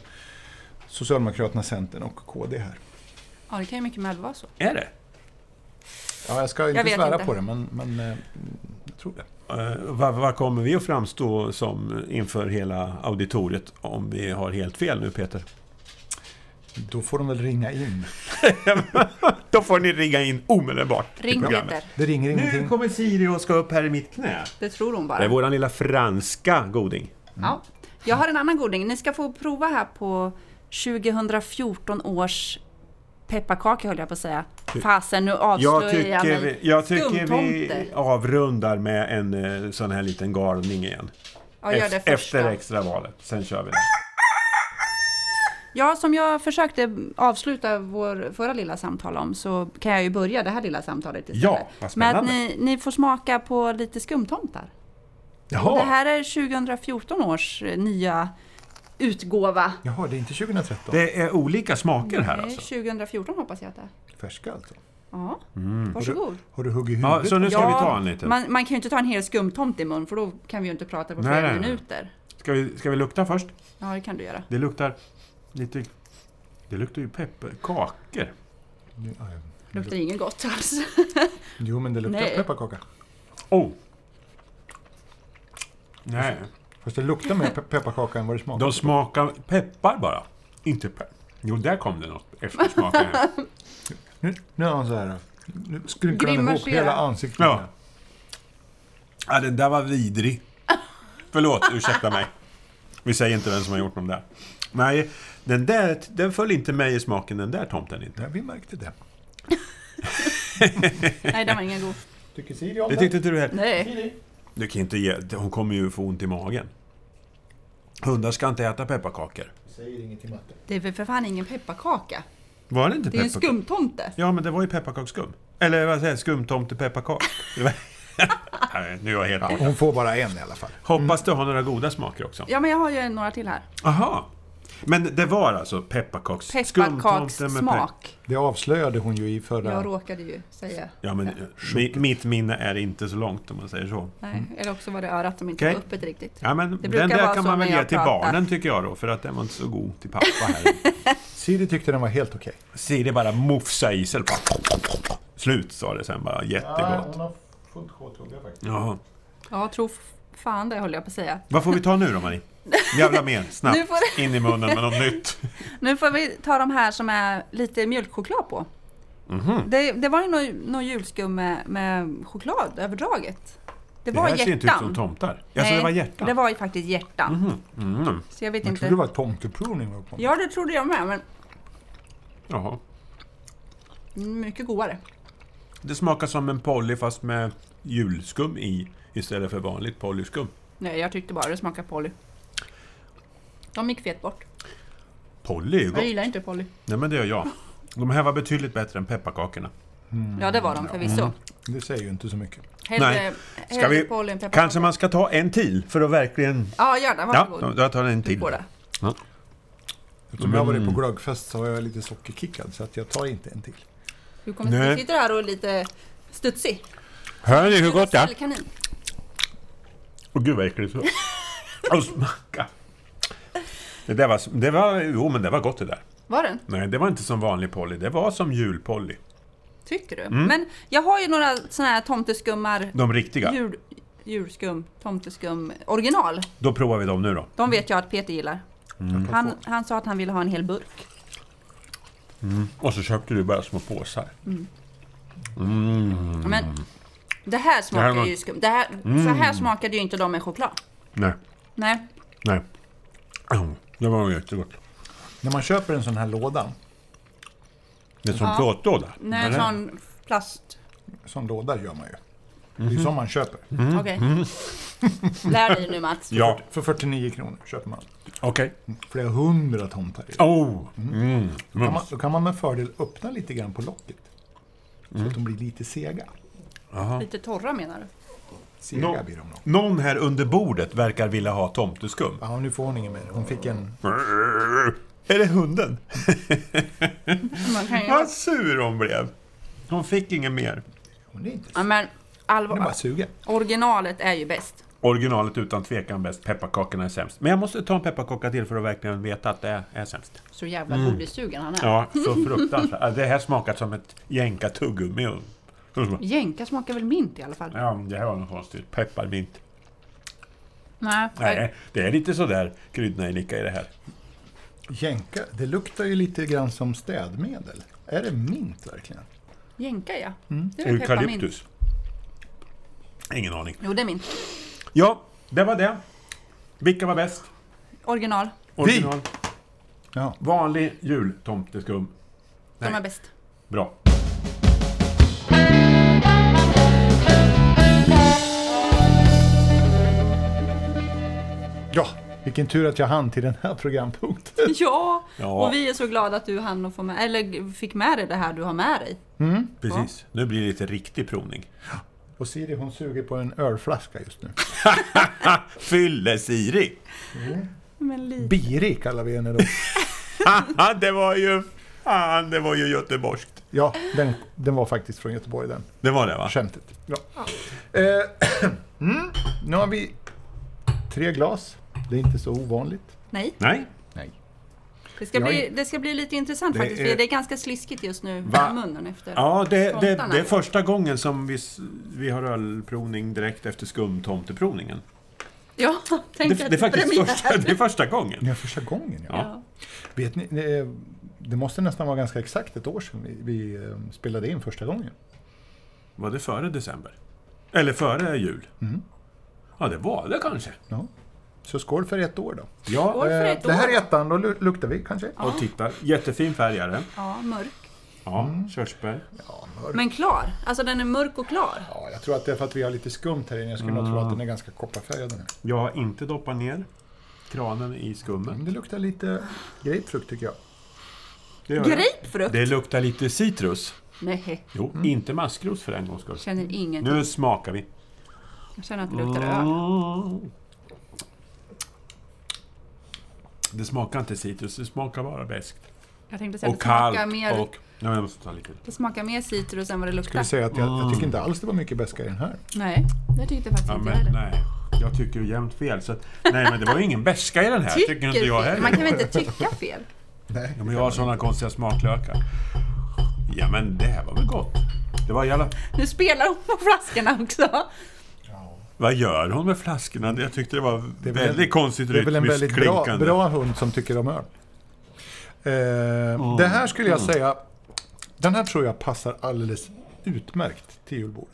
D: Socialdemokraterna, Centern och KD här.
A: Ja, det kan ju mycket väl vara så.
B: Är det?
D: Ja, jag ska inte
A: vet
D: svära
A: inte.
D: på det, men, men eh, jag tror det.
B: Eh, Vad, vad kommer vi att framstå som inför hela auditoriet om vi har helt fel nu Peter?
D: Då får de väl ringa in.
B: Då får ni ringa in omedelbart. i
A: Ring
B: programmet.
A: Peter.
D: Det ringer
B: Nu
D: ingenting.
B: kommer Siri och ska upp här i mitt knä.
A: Det tror hon
B: Det är
A: bara.
B: våran lilla franska goding.
A: Ja. Jag har en annan goding. Ni ska få prova här på 2014 års pepparkaka höll jag på att säga. Fasen, nu avslöjar jag,
B: Jag
A: mig.
B: tycker, vi, jag tycker vi
A: Skumtomter.
B: avrundar med en eh, sån här liten galning igen.
A: Ja, gör det
B: Ef- Efter
A: första.
B: extravalet. Sen kör vi det.
A: Ja, som jag försökte avsluta vår förra lilla samtal om så kan jag ju börja det här lilla samtalet istället.
B: Ja, vad
A: Med att
B: spännande.
A: ni, ni får smaka på lite skumtomtar. Och det
D: Jaha.
A: här är 2014 års eh, nya utgåva.
D: Jaha, det är inte 2013?
B: Det är olika smaker här
A: Nej,
B: alltså.
A: 2014 hoppas jag att det är.
D: Färska alltså?
A: Ja,
B: Mm.
A: varsågod.
D: Har du huggit
B: Ja,
D: huvudet?
B: så nu ska
A: ja,
B: vi ta en liten.
A: Man, man kan ju inte ta en hel skumtomt i mun för då kan vi ju inte prata på
B: Nej,
A: flera
B: nej, nej.
A: minuter.
B: Ska vi, ska vi lukta först?
A: Ja, det kan du göra.
B: Det luktar lite... Det luktar ju pepparkakor.
D: Ja, ja.
A: Det luktar
B: Mm.
A: inget gott alls.
D: Jo, men det luktar
A: Nej.
D: pepparkaka.
B: Oh! Nej,
D: Fast det luktar mer pe- pepparkaka än vad det smakar.
B: de smakar peppar bara. Inte peppar. Jo, där kom det något eftersmak. här.
D: Nu, nu är han så här. Nu skrynklar han
A: Grimaserar.
D: ihop hela ansiktet.
B: Ja. ja, den där var vidrig. Förlåt, ursäkta mig. Vi säger inte vem som har gjort dem där. Nej, den där den föll inte mig i smaken, den där tomten inte.
D: Ja, vi märkte det.
A: Nej, det var ingen god.
D: Tycker Siri om
B: Det tyckte inte du heller?
A: Nej.
B: Du kan inte ge... Hon kommer ju få ont i magen. Hundar ska inte äta pepparkakor.
D: Säger inget i matte.
A: Det är väl för fan ingen pepparkaka.
B: Var det inte
A: Det är ju en
B: pepparkakor?
A: skumtomte.
B: Ja, men det var ju pepparkaksskum. Eller vad säger jag, skumtomtepepparkaka. Det var- Nej, nu är jag helt borta.
D: Hon får bara en i alla fall.
B: Hoppas du har några goda smaker också.
A: Ja, men jag har ju några till här.
B: Aha. Men det var alltså pepparkaks... skumtomte med pe-
A: Pepparkakssmak.
D: Det avslöjade hon ju i förra...
A: Jag råkade ju säga.
B: Ja, men eh, mi, mitt minne är inte så långt om man säger så.
A: Nej, eller också var det örat som inte
B: Mm. Okej.
A: var öppet riktigt.
B: Ja, men
A: Det brukar
B: den där
A: vara
B: kan
A: så
B: man
A: när
B: väl ge
A: jag
B: till
A: pratar.
B: barnen tycker jag då, för att den var inte så god till pappa här.
D: Siri tyckte den var helt okej.
B: Siri bara mofsa i sig. Slut sa det sen bara, jättegott.
D: har fullt sjåtugga faktiskt.
B: Jaha.
A: Ja, tro f- fan det höll jag på att säga.
B: Vad får vi ta nu då, Marie? Jävla mer, snabbt.
A: Nu får
B: In i munnen med något nytt.
A: Nu får vi ta de här som är lite mjölkchoklad på.
B: Mhm.
A: Det, det var ju någon, någon julskum med, med chokladöverdraget. Det
B: Det
A: var
B: här ser inte ut som
A: hjärtan.
B: tomtar. Alltså, det var hjärtan.
A: det var ju faktiskt hjärtan.
B: Mm.
A: Så jag vet
D: Jag
A: inte.
D: trodde det var tomteprov var på.
A: Ja, det trodde jag med, men
B: Jaha.
A: mycket godare.
B: Det smakar som en Polly fast med julskum i istället för vanligt Pollyskum.
A: Nej, jag tyckte bara det smakade Polly. De gick fet bort.
B: Polly är ju
A: Jag
B: gott.
A: gillar inte Polly.
B: Nej men det gör jag. De här var betydligt bättre än pepparkakorna.
A: Ja, det var de förvisso.
D: Det säger ju inte så mycket.
B: Mm. Nej.
A: Hellre,
B: Ska
A: hellre
B: vi,
A: Polly än pepparkaka.
B: kanske man ska ta en till för att verkligen...
A: Ja, gör det.
B: Ja,
A: Varsågod.
B: då- jag tar en
A: Du
B: till.
A: får det.
D: Eftersom jag varit på glöggfest så var jag lite sockerkickad så att jag tar inte en till.
A: Du, kommer,
B: Nej.
A: du sitter här och är lite studsig.
B: Hör ni hur gott det är?
A: Kanin.
B: Åh gud vad äckligt. Och smaka. Det där var, det var, jo, men det var gott det där.
A: Var den?
B: Nej, det var inte som vanlig Polly. Det var som julpolly.
A: Tycker du? Men jag har ju några såna här tomteskummar,
B: Mm. De riktiga.
A: jul, julskum, tomteskum original.
B: Då provar vi dem nu då.
A: De vet jag att Peter gillar.
B: Mm.
A: Han, han sa att han ville ha en hel burk.
B: Och så köpte du bara små påsar. Mm.
A: Men det här smakar
B: Det här var-
A: ju skum. Det här, Så
B: Mm.
A: här smakade ju inte de med choklad.
B: Nej,
A: Nej.
B: nej. Mm, Det var jättegott.
D: När man köper en sån här låda,
B: Det är som
A: Ja.
B: plåtlåda.
A: Nej, en
B: Eller?
A: sån plast...
D: sån låda gör man ju. Det
B: Mhm.
D: är som man köper.
B: Mm.
A: Okej. Lär dig nu Mats.
B: Ja,
D: För 49 kronor köper man
B: okej.
D: flera hundra tomtar. i.
B: Oh! Mm.
D: Då kan man- Då kan man med fördel öppna lite grann på locket. Så
B: Mm.
D: att de blir lite sega.
A: Lite torra menar du?
D: Sega
B: Nå-
D: blir de nog.
B: Någon här under bordet verkar vilja ha tomteskum.
D: Ja, nu får hon ingen mer. Hon fick en...
B: Är det hunden?
A: Man kan ju...
B: Vad sur hon blev. Hon fick ingen mer.
D: Hon är inte
A: Ja, men
D: Hon är bara
A: allvar.
D: sugen.
A: Originalet är ju bäst.
B: Originalet utan tvekan bäst, pepparkakorna är sämst. Men jag måste ta en pepparkaka till för att verkligen veta att det är, är sämst.
A: Så jävla godissugen han är.
B: Mm. Ja, så fruktansvärt. Ja, Det här smakar som ett jänka tuggummi. och-
A: Jänka smakar väl mint i alla fall?
B: Ja, men det här var något konstigt. Pepparmint.
A: Nej.
B: Nej, det är lite sådär kryddnejlika i det här.
D: Jänka, det luktar ju lite grann som städmedel. Är det mint verkligen?
A: Jänka ja. Det är väl pepparmint.
B: Eukalyptus. Ingen aning.
A: Jo, det är mint.
B: Ja, det var det. Vilka var bäst?
A: Original.
B: Original.
D: Ja.
B: Vanlig jultomteskum.
A: De
B: Nej.
A: är bäst.
B: Bra.
D: ja, vilken tur att jag hann till den här programpunkten.
A: Ja,
B: Ja.
A: och vi är så glada att du hann och få med, eller fick med dig det här du har med dig.
B: Precis. Nu blir det lite riktig provning.
D: Och Siri hon suger på en ölflaska just nu.
B: Fylle-Siri!
A: Men lite.
D: Biri kallar vi henne då.
B: Haha, det var ju... Fan, det var ju göteborgskt.
D: Ja, den, den var faktiskt från Göteborg den.
B: Det var det va?
D: Skämtet. Ja. Eh, mm, nu har vi tre glas. Det är inte så ovanligt.
A: Nej,
B: Nej.
D: Nej.
A: det ska,
D: Jag
A: bli,
D: är-
A: det ska bli lite intressant
D: Det
A: faktiskt.
D: är-
A: Är... Det är ganska sliskigt just nu
B: Va?
A: i munnen efter.
B: Ja, det, det,
A: Tomtarna.
B: det är första gången som vi, s- vi har ölprovning direkt efter skumtomteprovningen.
A: ja tänk
B: Det,
A: att
B: det, är faktiskt
A: premiär.
B: första, det är första gången.
D: Det är första gången. Ja.
A: Ja.
D: Vet ni, eh, det måste nästan vara ganska exakt ett år sedan vi, vi eh, spelade in första gången.
B: Var det före december? Eller före jul? Ja, det var det kanske.
D: Ja. Så skål för ett år då.
A: Skål
B: Ja,
A: för
D: Eh,
A: ett
D: Det här
A: år.
D: är ettan, då lu- luktar vi kanske.
B: och titta. Jättefin färg är det.
A: ja, mörk.
B: Ja, körsbär.
D: Ja, mörk.
A: Men klar. Alltså den är mörk och klar.
D: ja, jag tror att det är för att vi har lite skumt här inne. Jag skulle nog tro att den är ganska kopparfärgad. den här.
B: Jag har inte doppat ner kranen i skummen.
D: Men det luktar lite grapefrukt tycker jag.
B: Det, gör det.
A: Grapefrukt?
B: det luktar lite citrus.
A: Nej,
B: Jo, inte maskros för en gångs skull.
A: känner ingenting.
B: Nu smakar vi.
A: Jag känner att det luktar öl.
B: Det smakar inte citrus, det smakar bara beskt.
A: Jag tänkte säga att
B: Och
A: det smakar,
B: kallt.
A: mer,
B: Och... Nej, men jag måste ta lite.
A: det smakar mer citrus än vad det
D: Ska vi
A: luktar.
D: säga att jag, jag tycker inte alls det var mycket beska i den här.
A: Nej, det tyckte jag faktiskt
B: Ja,
A: inte
B: men,
A: heller.
B: nej, jag tycker ju jämt fel. Så att, nej, men det var ju ingen beska i den här. Tycker inte jag
A: fel. Man kan
B: heller.
A: väl inte tycka fel?
D: Nej.
B: Ja, men jag har sådana konstiga smaklökar. Ja, men det här var väl gott? Det var jävla...
A: Nu spelar hon på flaskorna också.
B: Vad gör hon med flaskorna? Jag tyckte det var
D: Det är väl en-
B: väldigt konstigt
D: Det är väl en
B: rytmiskt
D: väldigt bra,
B: klinkande.
D: bra hund som tycker om öl. Eh, Det här skulle jag säga, den här tror jag passar alldeles utmärkt till julbordet.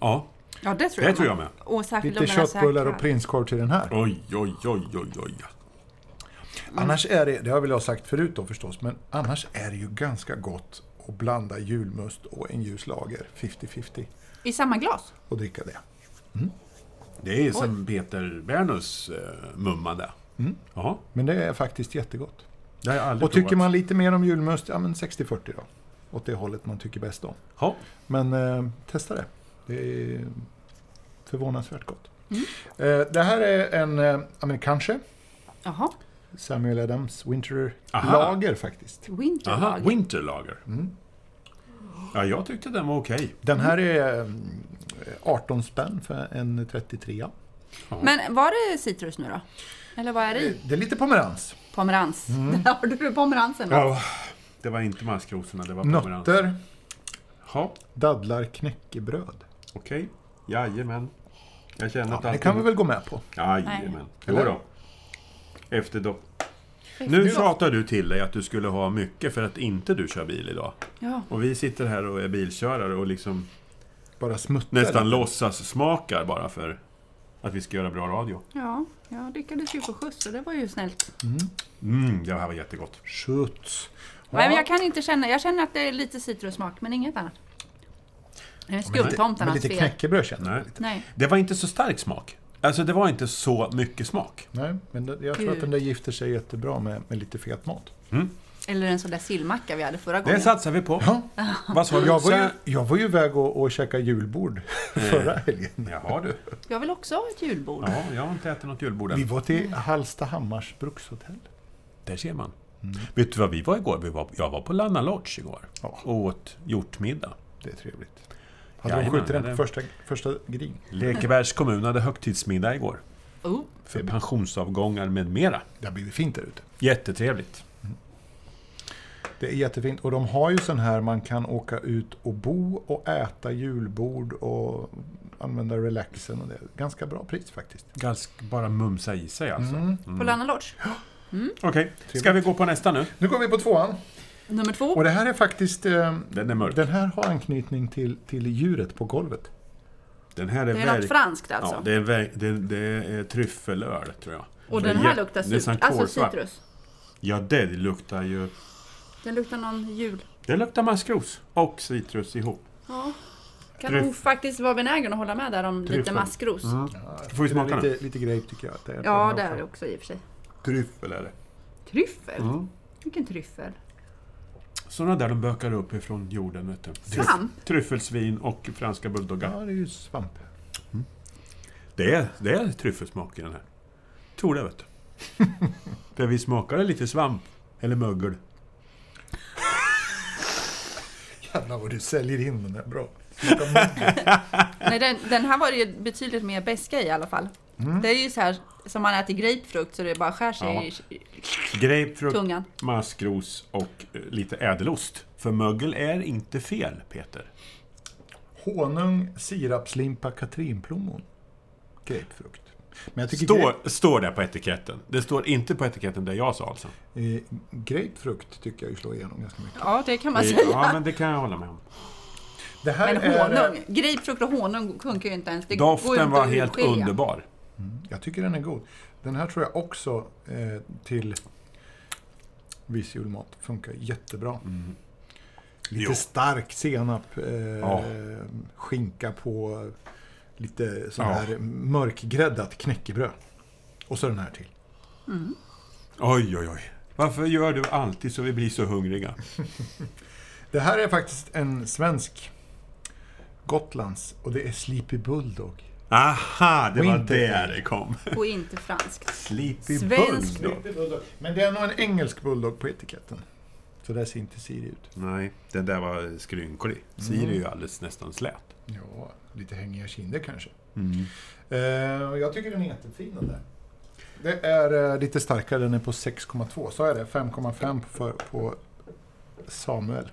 B: Ja,
A: Ja, det tror
B: det
A: jag.
B: tror jag med.
A: Och särskilt
D: Lite
A: om den är så här
D: köttbullar och
A: kall.
D: prinskorv till den här.
B: Oj, oj, oj, oj, oj.
D: Annars är det, det har väl jag sagt förut då förstås, men annars är det ju ganska gott att blanda julmust och en ljus lager, 50-50,
A: I samma glas?
D: och dricka det.
B: Det är som Peter Bernus eh, mumma där.
D: Mm.
B: Ja,
D: Men det är faktiskt jättegott.
B: det har jag aldrig
D: Och tycker man lite mer om julmust, ja men 60-40 då. Åt det hållet man tycker bäst om.
B: Ja.
D: Men eh, testa det. Det är förvånansvärt gott. Eh, det här är en eh, amerikanske,
A: Jaha,
D: Samuel Adams Winter
B: Aha.
D: Lager faktiskt.
B: Aha,
A: Winterlag.
B: Winterlager.
D: Mm.
B: Ja, jag
D: mm,
B: tyckte den var okej.
D: Den här är eh, 18 spänn för en 33
A: Men var det citrus nu då? Eller vad är det
B: Mm.
A: i?
D: Det är lite pomerans.
A: Pomerans. Där har du pomeransen. då.
B: Ja. Det var inte maskrosorna, det var pomerans.
D: Nötter,
B: Ja,
D: dadlar, knäckebröd.
B: okej. Jajamän. Jag känner
D: Ja,
B: att
D: det kan vi väl gå med på.
B: Jajamän. Jo
D: Eller?
B: då. Efterdopp. Nu tjatar du till dig att du skulle ha mycket för att inte du kör bil idag.
A: Ja.
B: Och vi sitter här och är bilkörare och liksom
D: Bara smutta
B: nästan
D: lite.
B: låtsas smakar bara för att vi ska göra bra radio.
A: ja, jag lyckades ju få skjuts och det var ju snällt.
B: Mm, det här var jättegott.
D: Skjuts.
A: Nej, men jag kan inte känna, jag känner att det är lite citrussmak men inget annat. Det är
D: Med
A: skumtomtarnas
D: lite
A: fel.
D: knäckebröd känner
B: Nej.
D: jag. Lite.
A: Nej.
B: Det var inte så stark smak. Alltså det var inte så mycket smak.
D: Nej, men det- jag tror
A: Gud.
D: att den där gifter sig jättebra med, med lite fet mat.
A: Eller en sån där sillmacka vi hade förra
B: Det
A: gången.
B: satsar vi på.
D: Ja.
B: Vad sa du?
D: Jag var ju, jag var ju iväg och, och käka julbord förra helgen.
B: Jaha du.
A: Jag vill också ha ett julbord.
B: Ja, jag har inte ätit något julbord
D: Vi
B: än.
D: var till Hallstahammars brukshotell.
B: Där ser man. Vet du vad vi var igår? Vi var, jag var på Lanna Lodge igår
D: Ja.
B: och åt hjortmiddag.
D: Det är trevligt. Hade de
B: Jajamän,
D: skjutit den
B: det-
D: på första, första grin?
B: Lekebergs kommun hade högtidsmiddag igår.
A: Oh.
B: För pensionsavgångar med mera.
D: Det har blivit fint där ute.
B: Jättetrevligt.
D: Det är jättefint. Och de har ju sån här man kan åka ut och bo och äta julbord och använda relaxen. Och det är ganska bra pris faktiskt.
B: Ganska bara mumsa i sig alltså.
A: På Lanna Lodge.
B: Okej, ska vi gå på nästa nu?
D: Nu går vi på tvåan.
A: Nummer
D: Och
A: två.
D: det här är faktiskt... Eh,
B: Den är mörk.
D: den här har anknytning till, till djuret på golvet.
B: Den här är
A: Det är något
B: verk-
A: franskt alltså.
B: Ja, det är, ver- det, det är tryffelöl tror jag.
A: Och den
B: Det är
A: här
B: jä-
A: luktar
B: det är sån
A: surt. Alltså
B: kolsvart.
A: citrus.
B: Ja, det luktar ju...
A: Den luktar någon jul.
B: Det luktar maskros och citrus ihop.
A: Ja. Kan
B: Tryff-
A: nog faktiskt vara benägen att hålla med där om lite
B: Tryffel. Mm,
A: maskros.
B: Får vi
D: Det är
B: smaka den?
D: lite, lite grape tycker jag. att Det är på den
A: Ja,
D: här
A: det är
D: också.
A: det också i och för sig.
B: Tryffel är det.
A: Tryffel?
B: Mm.
A: Vilken tryffel?
B: Sådana där de bökar upp ifrån jorden, vet du. Tryff-
A: Svamp?
B: Tryffelsvin och franska bulldoggar.
D: Ja, det är ju svamp.
B: Det är, det är tryffelsmak i den här. Tror det, vet du. För vi smakade lite svamp, eller mögel.
D: Jävlar vad du säljer in den här bra.
A: Nej, den, den här var det ju betydligt mer beska i i alla fall.
B: Mm.
A: Det är ju så här som man äter grapefrukt så det bara skär sig i
B: Grapefrukt,
A: tungan.
B: maskros och eh, lite ädelost. För mögel är inte fel, Peter.
D: Honung, sirapslimpa, katrinplommon. Grapefrukt. Men jag tycker
B: Står, står det på etiketten. Det står inte på etiketten där jag sa alltså.
D: grape, eh, grapefrukt tycker jag ju slår igenom ganska mycket.
A: Ja, det kan man säga.
B: Ja, men det kan jag hålla med om.
D: Det här
A: Men
D: är, eh,
A: honung, grapefrukt och honung funkar ju inte ens. Det går ju
B: Doften
A: inte
B: var
A: att
B: helt
A: urskilja.
B: underbar.
D: Jag tycker den är god. Den här tror jag också eh, till viss julmat funkar jättebra. Lite
B: Jo.
D: stark senap, eh,
B: Ja.
D: skinka på lite sån
B: Ja.
D: här mörkgräddat knäckebröd. Och så den här till.
B: Oj, oj, oj. Varför gör du alltid så vi blir så hungriga?
D: Det här är faktiskt en svensk Gotlands och det är Sleepy Bulldog.
B: Aha, det var
D: Winter.
B: där det kom.
A: Och inte franskt.
B: Sleepy
A: Svensk.
B: Bulldog.
D: Men det är nog en engelsk bulldog på etiketten. Så där ser inte Siri ut.
B: Nej, den där var skrynklig. Siri är ju alldeles nästan slät.
D: Ja, lite hängiga kinder kanske.
B: Mm.
D: Eh, och jag tycker den är jättefin den där. Det är eh, lite starkare, den är på 6,2. Sa jag det? 5,5 på, för- på Samuel.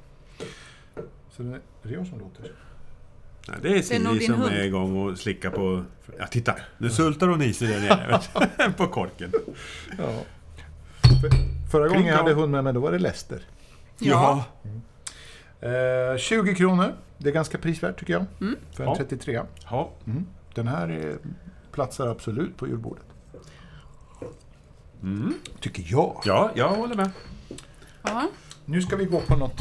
D: Så den är, det är jag som låter.
B: Nej, det är
A: nog
B: Siri
A: din
B: som
A: hund.
B: är igång och slickar på... Ja, titta! Nu sultar hon i sig där nere. vet du. på korken.
D: Ja. För, förra gången jag hade hund med mig, då var det Lester.
A: Ja.
D: Eh, 20 kronor. Det är ganska prisvärt tycker jag. För en
B: Ja.
D: 33.
B: Ja.
D: Den här är, platsar absolut på julbordet. Tycker jag.
B: Mm. ja, jag håller med.
A: Ja.
D: Nu ska vi gå på något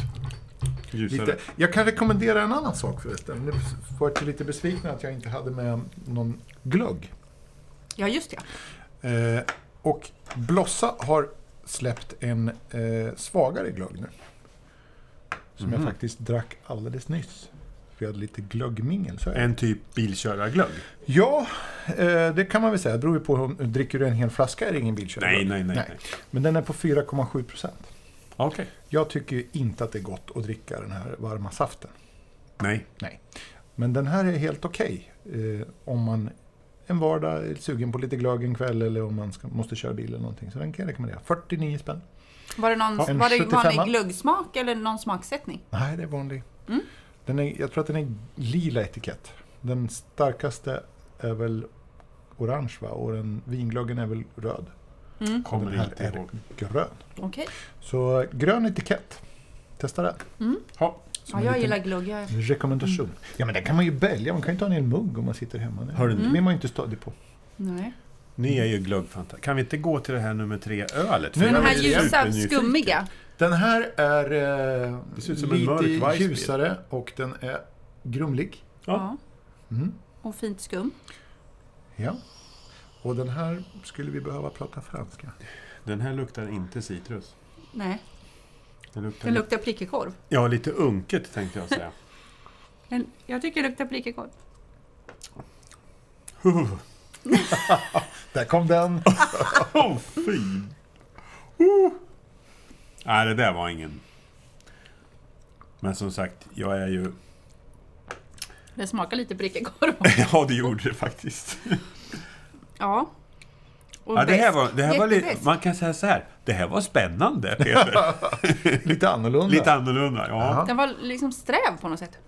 B: Ljusare.
D: lite... Jag kan rekommendera en annan sak förresten. Nu vart jag lite besviken att jag inte hade med någon glögg.
A: ja, just det.
D: Eh, och Blossa har släppt en eh, svagare glögg nu. Som
B: Mhm.
D: jag faktiskt drack alldeles nyss. För jag hade lite glöggmingel. Så är det.
B: En typ bilkörarglögg.
D: Ja, eh, det kan man väl säga. Det beror ju på, om- dricker du en hel flaska är det ingen bilkörning.
B: Nej, nej, nej, nej.
D: Men den är på 4,7 procent.
B: Okej.
D: Jag tycker ju inte att det är gott att dricka den här varma saften.
B: Nej.
D: Nej. Men den här är helt okej eh, om man en vardag är sugen på lite glögg en kväll eller om man ska, måste köra bil eller någonting. Så den kan jag rekommendera. 49 spänn.
A: Var det någon
D: Ja, en
A: var det vanlig
D: 75.
A: glöggsmak eller någon smaksättning?
D: Nej, det är vanlig.
A: Mm.
D: Den är, jag tror att den är lila etikett. Den starkaste är väl orange va? och den vinglöggen är väl röd.
B: Kommer
D: den här
B: inte
D: är
B: ihåg.
D: grön.
A: Okej.
D: Så grön etikett. Testa den.
B: Ja.
A: Ja,
D: en
A: jag
D: liten-
A: gillar Mm. glögg. Jag...
D: Rekommendation. Ja, men det kan man ju välja. Man kan ju ta en hel mugg om man sitter hemma. Det
B: Hör du nu?
D: blir man ju inte stadig på.
A: Nej.
B: Ni är ju glöggfantaster. Kan vi inte gå till det här nummer tre-ölet? För
D: Nu
B: jag
A: Men de
B: är
A: här
D: ju
A: ljusa,
B: supernyfiken.
A: skummiga.
D: Den här är eh,
B: Det ser ut som en
D: lite
B: mörk Weissbier.
D: ljusare och den är grumlig.
B: Ja. Mhm.
A: Ja. Och fint skum.
D: Ja. Och den här skulle vi behöva prata franska.
B: Den här luktar inte citrus.
A: Nej,
B: Den luktar,
A: det luktar prickekorv.
B: Ja, lite unket tänkte jag säga.
A: Den- Jag tycker det luktar prickekorv.
D: Där kom den!
B: Åh, fy! Uh. Nej, det där var ingen... Men som sagt, jag är ju...
A: Det smakar lite prickekorv.
B: Ja, det gjorde det faktiskt.
A: Ja. Och
B: Ja, det här
A: bäst.
B: var, det här var lite,
A: Jättebäst.
B: man kan säga så här, det här var spännande, Peter.
D: Lite annorlunda.
B: Lite annorlunda, ja.
D: Jaha.
A: Den var liksom sträv på något sätt.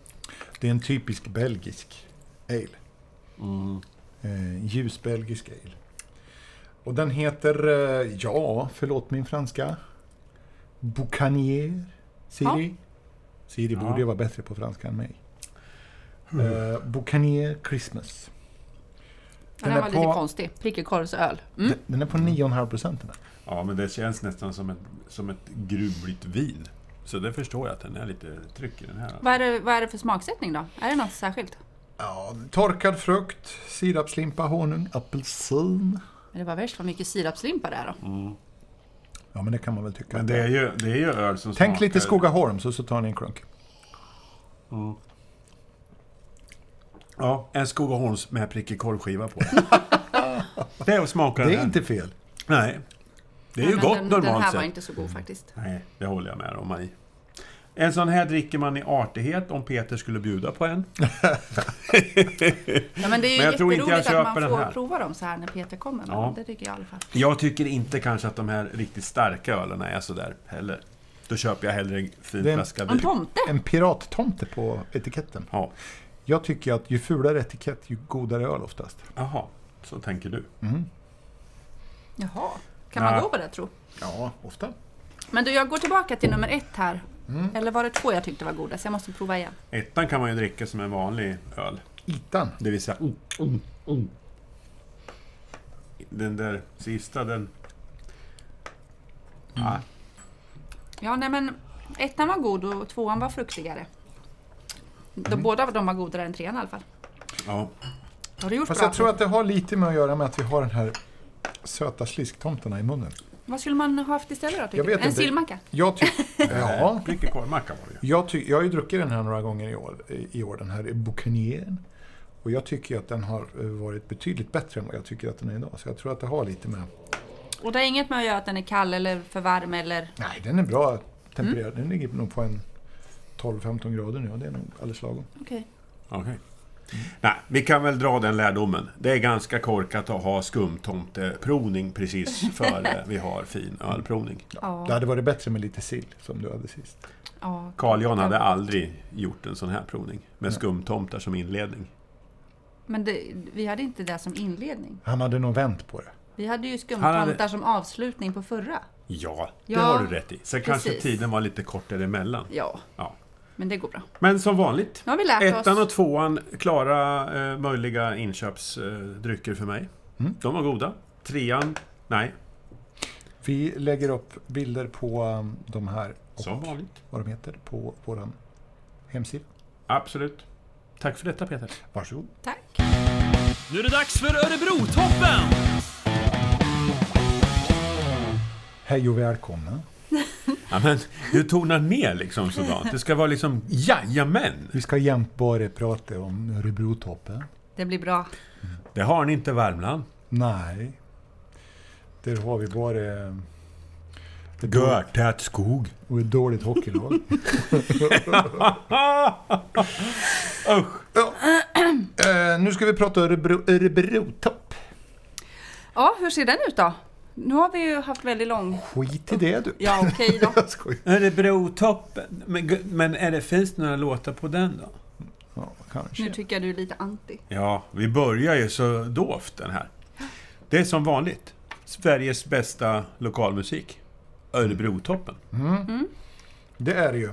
D: Det är en typisk belgisk ale.
B: Mm.
D: Eh, ljus belgisk ale. Och den heter, eh, ja, förlåt min franska. Boucanier. Siri. Siri
B: Ja. Mm.
D: borde ju vara bättre på franska än mig. Eh, Boucanier Christmas.
A: Den,
D: Den
A: här
D: är
A: var
D: på-
A: lite konstig. Prickekorvsöl. Mm.
D: Den- Den är på 9,5 den här.
B: Ja, men det känns nästan som ett, som ett gruvligt vin. Så det förstår jag att den är lite tryck i den här.
A: Vad, är det, vad är det för smaksättning då? Är det något särskilt?
D: Ja, torkad frukt, sirapslimpa, honung, apelsin.
A: Men det var värst vad mycket sirapslimpa det är då.
D: Ja, men det kan man väl tycka.
B: Men
D: att
B: det
D: det
B: är
D: är.
B: ju, det är ju öl som
D: Tänk
B: smakar-
D: lite Skogaholm så, så tar ni en klunk.
B: Ja, en Skogaholms med prickig korvskiva på. det smakar
D: Det
B: den.
D: är inte fel.
B: Nej. Det är ju
A: Men
B: gott
A: den,
B: normalt
A: Den här
B: sett.
A: var inte så god faktiskt.
B: Nej, det håller jag med om. Marie. En sån här dricker man i artighet om Peter skulle bjuda på en.
A: Ja, men det är ju
B: Men jag tror inte
A: jätteroligt
B: jag
A: att
B: köper
A: man
B: den här.
A: får prova dem så här när Peter kommer. Men
B: Ja.
A: Det tycker jag i alla fall.
B: Jag tycker inte kanske att de här riktigt starka ölen är sådär heller. Då köper jag hellre en fin
D: Det är en-
B: flaska
A: En
B: vin.
A: tomte?
D: En pirattomte på etiketten.
B: Ja,
D: Jag tycker att ju fulare etikett, ju godare öl oftast.
B: jaha. Så tänker du.
A: Jaha. Kan
B: Nej.
A: man gå på det tro?
D: Ja, ofta.
A: Men du, jag går tillbaka till nummer ett här. Eller var det två jag tyckte var goda? Så jag måste prova igen.
B: Ettan kan man ju dricka som en vanlig öl.
D: Itan.
B: Det vill säga... Den där sista, den... Ah, Ja,
A: Ja, nej men ettan var god och tvåan var fruktigare. De, båda de var godare än trean i alla fall.
B: ja.
A: Har du gjort
D: Fast
A: bra?
D: jag tror att det har lite med att göra med att vi har den här söta slisktomterna i munnen.
A: Vad skulle man ha haft istället då? tycker
D: Jag
A: du?
D: vet
A: en
D: inte.
A: sillmacka?
D: Jag tycker... ja.
B: Prickig korvmacka var det ju.
D: Jag, ty- jag har ju druckit den här några gånger i år, i år den här Boucanieren. Och jag tycker ju att den har eh, varit betydligt bättre än vad jag tycker att den är idag. Så jag tror att det har lite med...
A: Och det har inget med att göra att den är kall eller för varm eller...
D: Nej, den är bra tempererad. Den ligger nog på en 12-15 grader nu och det är nog alldeles lagom.
A: Okej.
B: Okej. Nej, vi kan väl dra den lärdomen. Det är ganska korkat att ha skumtomteprovning precis före vi har fin ölprovning.
D: Det
A: Ja.
D: hade varit bättre med lite sill som du hade sist.
A: ja.
B: Carl Jan hade aldrig gjort en sån här provning med skumtomtar som inledning.
A: Men det, vi hade inte det som inledning.
D: Han hade nog vänt på det.
A: Vi hade ju
B: Han
A: skumtomtar
B: hade-
A: som avslutning på förra.
B: Ja, det
A: Ja,
B: har du rätt i. Sen kanske
A: precis.
B: tiden var lite kortare emellan.
A: Ja,
B: Ja.
A: men det går bra.
B: Men som vanligt.
A: Nu har vi lärt
B: Ettan
A: oss.
B: och tvåan, klara eh, möjliga inköpsdrycker för mig. De var goda. Trean, nej,
D: Vi lägger upp bilder på um, de här och
B: som vanligt.
D: vad de heter på vår hemsida.
B: Absolut. Tack för detta Peter.
D: Varsågod.
A: Tack.
C: Nu är det dags för Örebro-toppen!
D: Hej och välkomna.
B: Ja, men du tonar ner liksom sådant. Det ska vara liksom jajamän.
D: Vi ska jämt bara prata om Örebrotoppen.
A: Det blir bra.
B: Det har ni inte i Värmland.
D: Nej. Där har vi bara... eh, ett dåligt-
B: Görtät skog.
D: Och ett dåligt hockeylag.
B: Usch!
D: ja. eh, nu nu ska vi prata Örebro, Örebrotopp.
A: Ja, hur ser den ut då? Nu har vi ju haft väldigt lång...
D: Skit i det du.
A: Ja, okej då.
D: Jag skojar.
E: Örebrotoppen. Men, gu- men är det, finns det några låtar på den då?
D: Ja,
A: Nu
D: kanske.
A: tycker jag du är lite anti.
B: Ja, vi börjar ju så dovt den här. Det är som vanligt. Sveriges bästa lokalmusik. Örebrotoppen.
D: Det är det ju.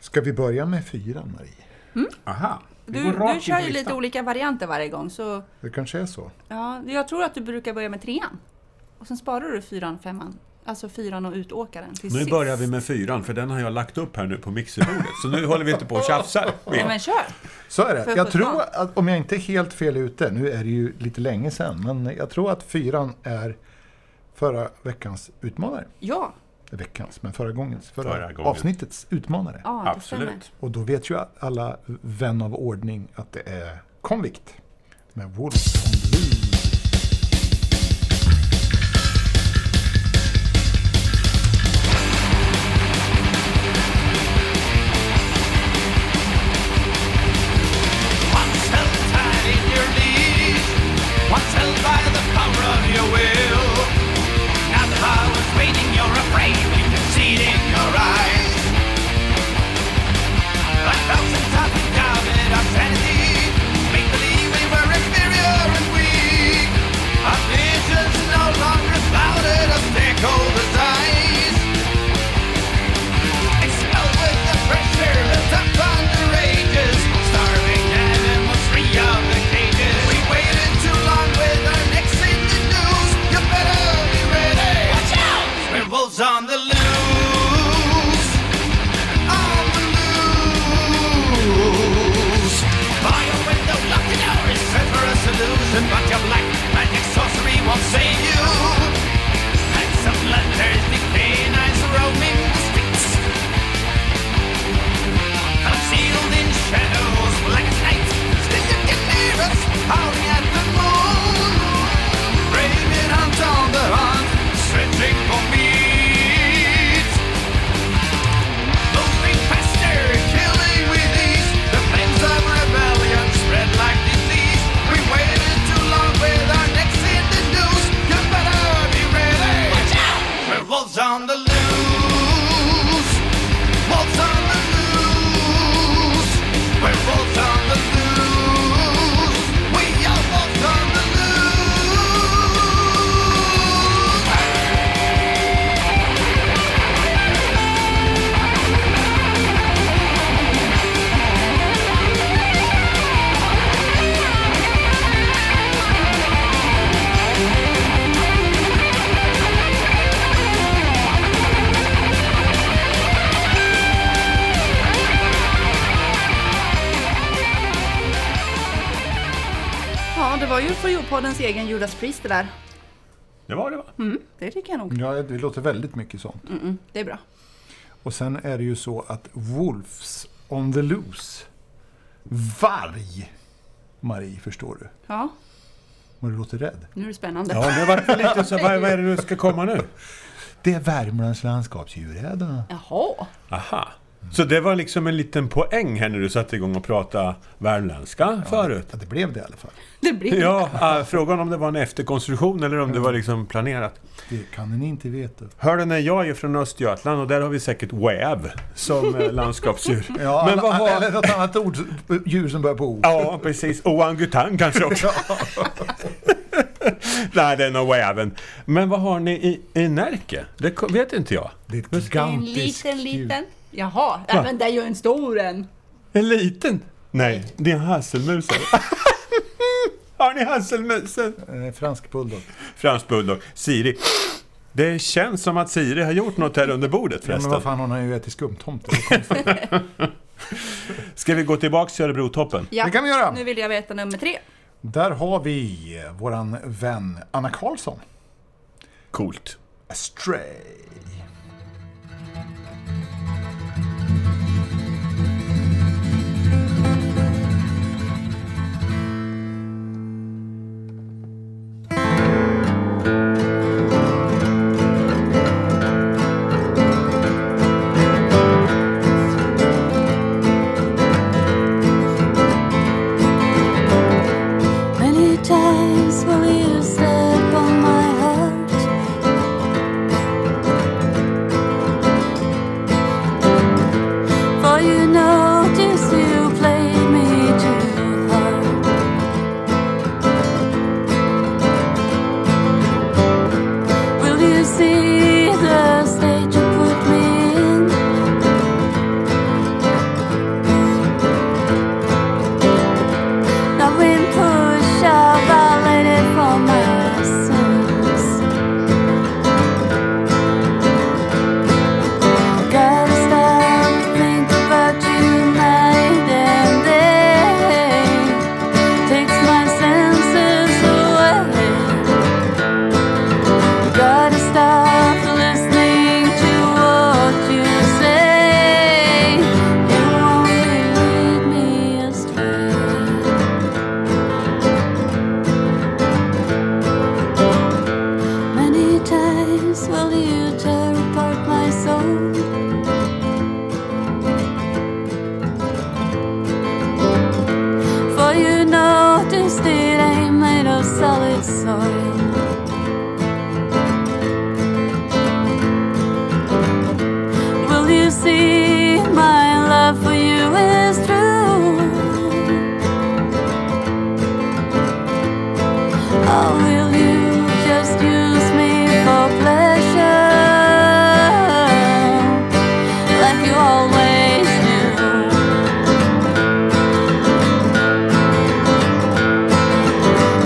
D: Ska vi börja med fyran, Marie?
B: Aha.
E: Vi
A: Du,
E: går rakt
A: du
E: in
A: kör
E: på
A: ju lite
E: listan.
A: olika varianter varje gång, så
D: Det kanske är så.
A: ja, jag tror att du brukar börja med trean. Och sen sparar du fyran, femman. Alltså fyran och utåkaren till
B: Nu
A: sist.
B: börjar vi med fyran, för den har jag lagt upp här nu på mixerbordet. Så nu håller vi inte på och tjafsar.
A: Ja, men kör!
D: Så är det.
A: För
D: Jag
A: sjutton.
D: tror att, om jag inte är helt fel ute, nu är det ju lite länge sedan, men jag tror att fyran är förra veckans utmanare.
A: Ja,
D: Veckans, men förra gångens, förra,
B: Förra gången.
D: avsnittets utmanare.
A: ja det stämmer.
B: Absolut.
D: Och då vet ju alla vän av ordning att det är Convict med Wolf.
F: Once held tight in your knees, once held by the power of your will. Now the power's waiting, you're afraid, you can see it in your eyes. Like thousands of down in our sanity, make believe we were inferior and weak. Our vision's no longer clouded of stakeholders' eyes. On the loose, on the loose. By a window locked in our is set for a solution, but your black magic sorcery won't save you. And some letters decaying eyes roaming the streets Concealed in shadows black as night Sticking in near us, howling at the moon Raving hunt on the hunt, searching for meat Moving faster, killing with ease The flames of rebellion spread like disease We waited too long with our necks in the noose You better be ready Watch out! We're wolves on the loose Wolves on the loose We're wolves on the loose We are wolves on the loose
A: Ja, det var ju Fojo-poddens egen Judas Priest det där.
B: Det var det va?
A: Mm, det tycker jag nog.
D: Ja, det låter väldigt mycket sånt.
A: Det är bra.
D: Och sen är det ju så att Wolves on the loose. Varg! Marie, förstår du?
A: Ja,
D: Men du låter rädd.
A: nu är det spännande.
B: Ja, nu vart det lite så vad, vad är det du ska komma nu?
D: Det är Värmlands landskapsdjurräddarna.
A: Jaha.
B: Aha. Så det var liksom en liten poäng här när du satte igång och pratade värmländska förut?
D: Ja, det blev det i alla fall.
A: Det blir...
B: Ja, äh, frågan om det var en efterkonstruktion eller om det var liksom planerat.
D: Det kan ni inte veta.
B: Hör du, när jag är från Östergötland och där har vi säkert väv som eh, landskapsdjur.
D: Ja,
B: Men
D: alla-
B: vad var-
D: Eller något annat ord, djur som börjar på O.
B: Ja, precis. Och orangutang kanske också. Nej, det är nog även. Men vad har ni i, i Närke? Det ko- vet inte jag.
D: Det är ett
A: En
D: gigantiskt
A: liten,
D: djur.
A: liten. Jaha, ja. men det är ju en stor en.
B: En liten? Nej, det är hasselmusen. har ni hasselmusen?
D: Eh, fransk bulldog.
B: Fransk bulldog. Siri. Det känns som att Siri har gjort något här under bordet
D: Ja, men
B: förresten.
D: vad fan, hon har ju ätit skumtomte. Det är konstigt.
B: Ska vi gå tillbaka till Örebrotoppen?
A: Ja.
D: Det kan vi göra.
A: Nu vill jag veta nummer tre.
D: Där har vi eh, våran vän Anna Karlsson.
B: Coolt.
D: Astray.
F: We're
G: time. Will you see my love for you is true? Or will you just use me for pleasure? Like you always do.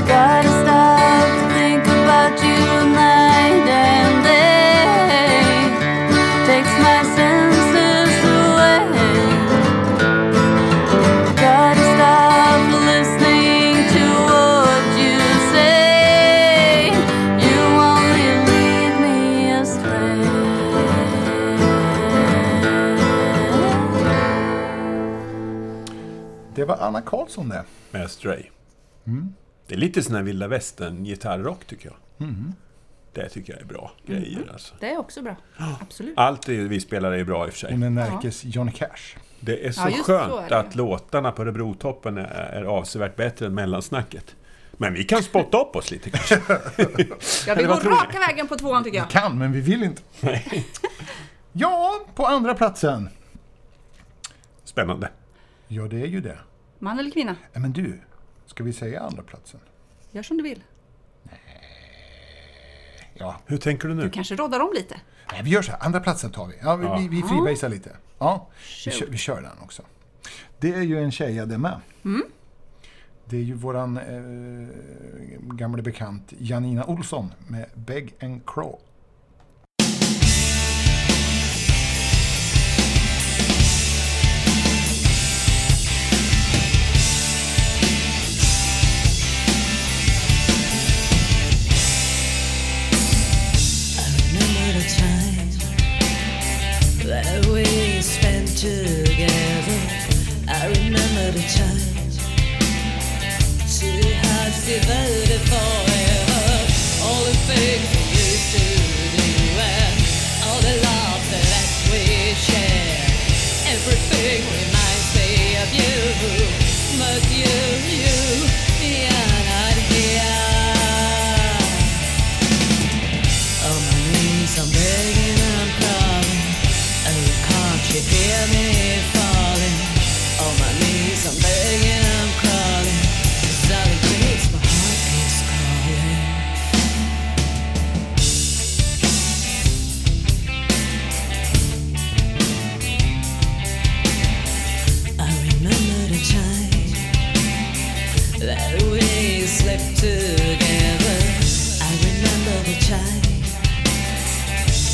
G: Gotta stop to think about you night and day takes my senses away. Gotta stop listening to what you say. You only lead me astray.
D: Det var Anna Karlsson det.
E: Med Stray. Det är lite sån här vilda västern-gitarrrock tycker jag. Det tycker jag är bra grejer alltså.
A: Det är också bra. Absolut.
E: Allt det vi spelar är bra i och för sig.
D: Hon är Närkes Johnny Cash.
E: Det är så
A: Ja, just så
E: skönt
A: är det.
E: att låtarna på Örebrotoppen är, är avsevärt bättre än mellansnacket. Men vi kan spotta upp oss lite kanske.
A: Ja, vi
E: vad
A: går
E: tror ni?
A: raka vägen på tvåan tycker jag.
D: Kan, men vi vill inte. ja, på andra platsen.
E: Spännande.
D: Ja, det är ju det.
A: Man eller kvinna?
D: Nej, Men du, ska vi säga andra platsen?
A: Gör som du vill.
D: Ja,
E: Hur tänker du nu?
A: Du kanske råddar om lite.
D: Nej, vi gör så här. Andra platsen tar vi. Ja, vi, vi, vi freebasar lite. Ja, vi kör, vi kör den också. Det är ju en tjeja det med.
A: Mm.
D: Det är ju våran eh, gamla bekant Janina Olsson med Beg and Crow.
H: remember the time that we spent together. I remember the time two hearts divided forever. All the things we used to do and all the love that we shared. Everything reminds me of you, but you, you, you're not here. On my knees, I'm begging and crying. Oh, can't you hear me falling? On my knees, I'm begging and crawling. Solid breaks, my heart is calling. I remember the time that we slept together. I remember the time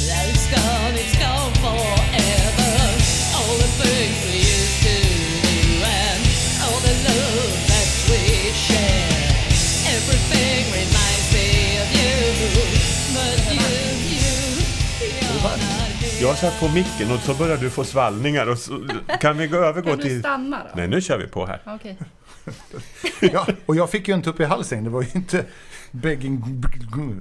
H: that it's gone, it's gone forever. All the things we used to do and all the love that we shared. Everything reminds me of you, but you, you, you're not here.
B: Jag satt på micken och så började du få svallningar. Och så, kan vi gå, övergå
A: Kan du
B: till...
A: stanna då?
B: Nej, nu kör vi på här.
A: Okej.
D: Ja, och jag fick ju inte upp i halsen. Det var ju inte Begging...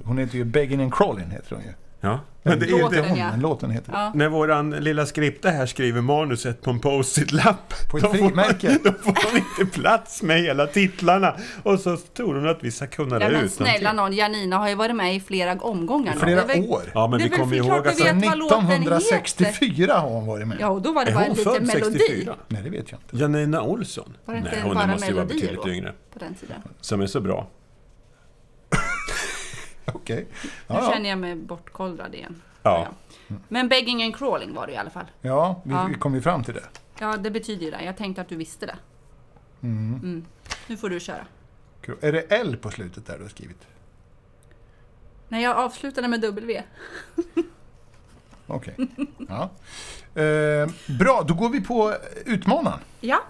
D: Hon heter ju Begging and Crawling heter hon ju.
B: Ja. Men det är ju
A: Låten,
B: det.
D: Hon,
A: ja.
D: men låten heter det.
B: När våran lilla skripta här skriver manuset på en post-it-lapp.
D: På ett
B: då får man-
D: frimärke.
B: Då får de inte plats med hela titlarna. Och så tror de att vi ska kunna
A: Ja,
B: det
A: men
B: utan-
A: snälla någon, Janina har ju varit med i flera omgångar nu.
D: Flera
A: Det är väl-
D: år.
B: Ja, men
A: Det är
B: vi
A: väl
B: kommer
A: för klart
B: ihåg
A: vi
B: att...
A: vet vad låten heter.
D: 1964 har hon varit med.
A: Ja, och då var det
B: Är
A: bara en
B: hon
A: liten
B: född
A: melodi
B: 64?
D: Nej, det vet jag inte.
B: Janina Olsson?
A: Var det inte
B: Nej, hon
A: bara
B: måste ju vara
A: melodier
B: betydligt
A: då?
B: yngre.
A: på den tiden.
B: Som är så bra.
D: Okej.
A: Nu
D: Ja, ja.
A: känner jag mig bortkollrad igen.
B: Ja.
A: Men begging and crawling var det i alla fall.
D: ja, vi,
A: Ja.
D: vi kom ju fram till det.
A: Ja, det betyder ju det. Jag tänkte att du visste det. Mm. Nu får du köra.
D: Kul. Är det L på slutet där du har skrivit?
A: Nej, jag avslutade med W.
D: Okej. Ja. Eh, bra, då går vi på utmanaren.
A: Ja,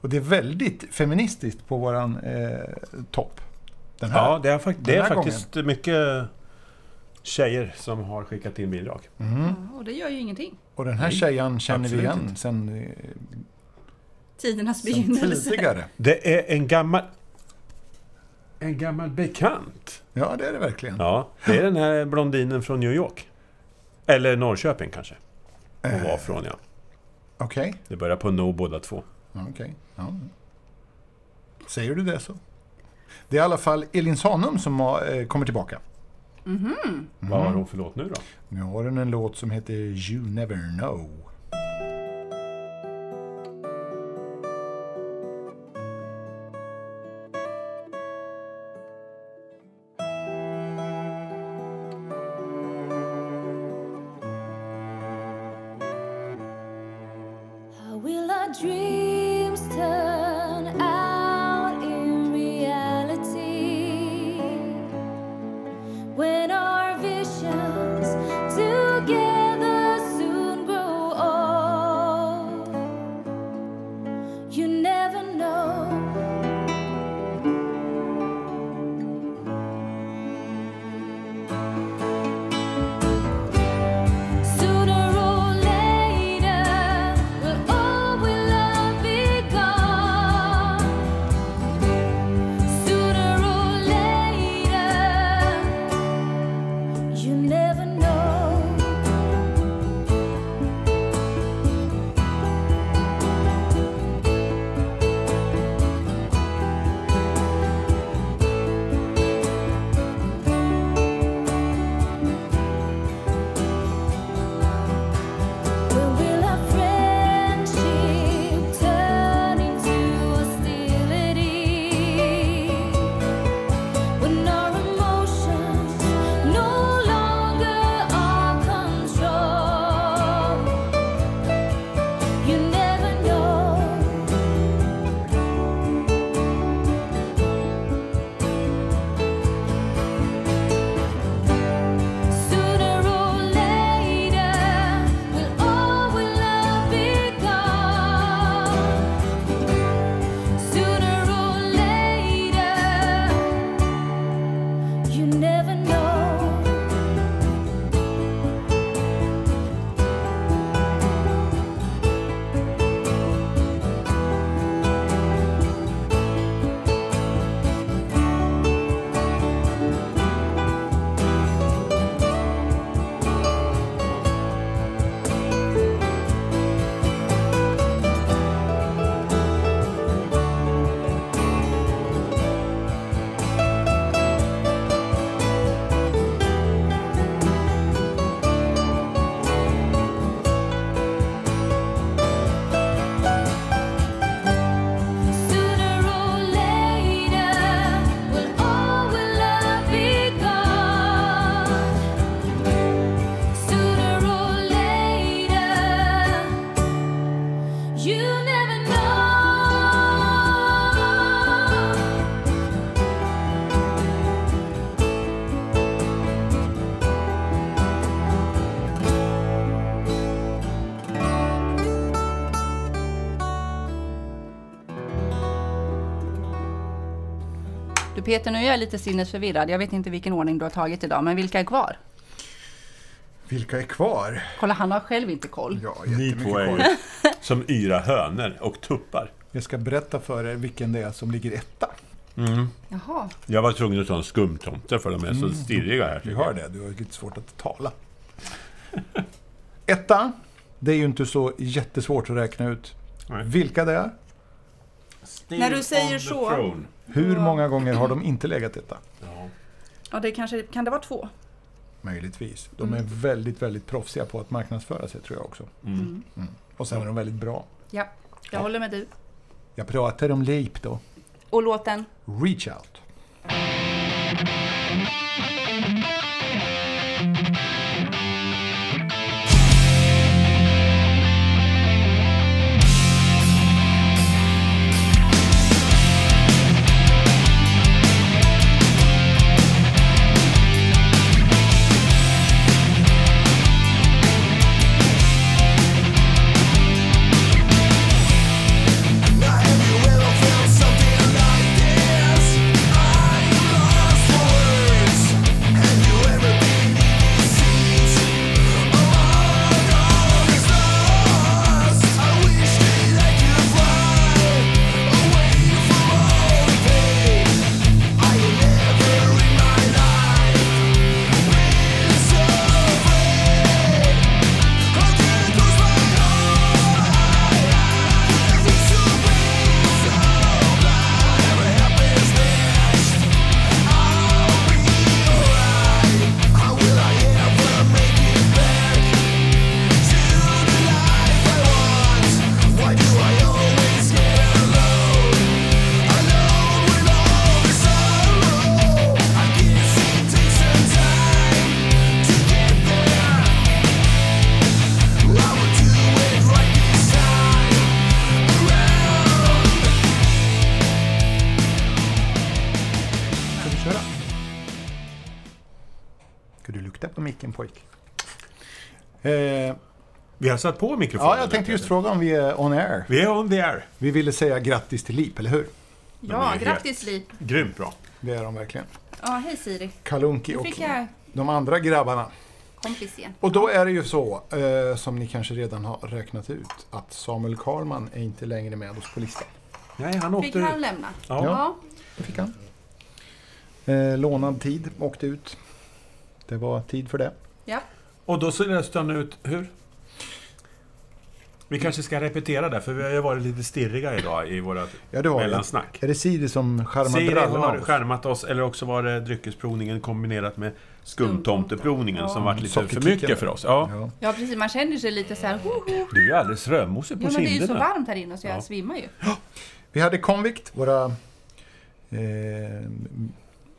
D: Och det är väldigt feministiskt på våran eh, topp. Den här.
B: Ja, det är, fak- det
D: Den
B: är
D: här
B: faktiskt mycket tjejer som har skickat in bidrag.
A: Ja, och det gör ju ingenting.
D: Och den här tjejan känner vi
B: absolut
D: igen
B: inte.
D: sen, eh,
A: Tidernas
D: sen
A: begynnelse.
D: tidigare.
B: Det är en gammal... En gammal bekant.
D: Ja, det är det verkligen.
B: Ja, det är den här blondinen från New York. Eller Norrköping kanske. Hon var från, ja.
D: Okej.
B: Det börjar på No båda två.
D: Ja, Okej. Ja. Säger du det så? Det är i alla fall Elin Sanum som har, eh, kommer tillbaka.
E: Vad
B: Mm.
E: har hon för låt nu då?
D: Nu har hon en låt som heter You Never Know.
G: How will our dreams turn out in reality when our visions together soon grow old? You never know. Sooner or later, we'll all we love be gone. Sooner or later, you never know. When will our friendship turn into hostility? When our emotions no longer are controlled, you never know. Sooner or later, will all we love be gone? Sooner or later, you never know. Sooner or later, will all we love be gone? Sooner or later, you never know.
A: Du Peter, nu är jag lite sinnesförvirrad. Jag vet inte vilken ordning du har tagit idag, men vilka är kvar?
D: Vilka är kvar?
A: Kolla, han har själv inte koll.
D: Ja,
E: Ni
D: jättemycket
E: två är
D: kvar.
E: ju som yra hönor och tuppar.
D: Jag ska berätta för er vilken det är som ligger etta.
A: Jaha.
E: Jag var tvungen att ta en skumtomte för de är
B: Mm.
E: så stirriga här.
D: Du hör det, du har ju lite svårt att tala. Etta, det är ju inte så jättesvårt att räkna ut
E: Nej.
D: vilka det är.
I: När du säger så.
D: Hur många gånger har de inte legat etta?
I: Ja, det kanske, kan det vara två?
D: Möjligtvis. De är väldigt, väldigt proffsiga på att marknadsföra sig tror jag också. Mm. Och sen är de väldigt bra.
A: Ja, jag håller med dig.
D: Jag pratar om Leip då.
A: Och låten?
D: Reach out.
F: Something like this, I'm lost for words.
D: släpp på micken pojk. Eh,
B: Vi har satt på mikrofonen.
D: Ja, jag tänkte just fråga om vi är on air.
B: Vi är on the air.
D: Vi ville säga grattis till LIP, eller hur?
A: Ja, grattis Liv.
B: Grymt bra.
D: Det är de verkligen.
A: Ja, hej Siri.
D: Kalunki
A: Nu
D: och
A: fick jag
D: de andra grabbarna.
A: kompis igen.
D: Och då är det ju så, eh, som ni kanske redan har räknat ut, att Samuel Karlman är inte längre med oss på listan.
B: Nej, han
A: Fick
B: åkte ut.
A: han lämna?
B: Ja.
D: Det fick han. Eh, lånad tid, åkte ut. Det var tid för det.
A: ja.
B: Och då så röstade han ut, hur? Vi kanske ska repetera det, för vi har ju varit lite stirriga idag i våra
D: Ja, det var det.
B: mellansnack.
D: Är det Siri som skärmar
B: Siri
D: brallorna
B: har
D: av oss?
B: skärmat oss, eller också var det dryckesprovningen kombinerat med skumtomteprovningen som varit lite för
D: Sockerkicken.
B: mycket för oss. Ja.
D: Ja.
A: Ja, precis. Man känner sig lite så här... Ho, ho.
B: Du är ju alldeles rödmosig på
A: Ja, men det är ju så
B: kinderna.
A: varmt här inne så jag
B: Ja.
A: svimmar ju.
D: Vi hade Convict, våra eh,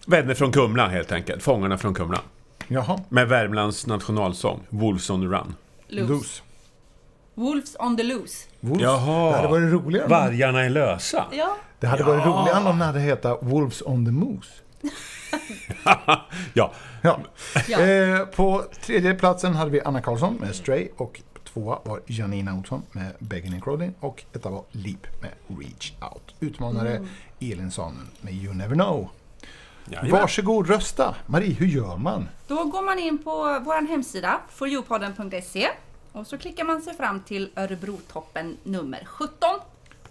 B: Vänner från Kumla helt enkelt, Fångarna från Kumla.
D: jaha,
B: Med Värmlands nationalsång, Wolves on the Run.
A: Loose.
D: Loose.
A: Wolves on the loose.
D: Wolves.
B: Jaha.
D: Det hade varit roligare. om-
B: Vargarna är lösa.
A: Ja.
D: Det hade varit roligare om det hade hetat Wolves on the Moose.
B: Ja,
D: Ja.
A: Ja.
D: Eh, på tredje platsen hade vi Anna Karlsson med Stray och tvåa var Janina Olsson med Begging and Crawling och etta var Leap med Reach Out. Utmanare Elin Samuel med You Never Know.
B: jajamän.
D: Varsågod rösta! Marie, hur gör man?
A: Då går man in på vår hemsida, foryoupodden.se och så klickar man sig fram till Örebrotoppen nummer 17.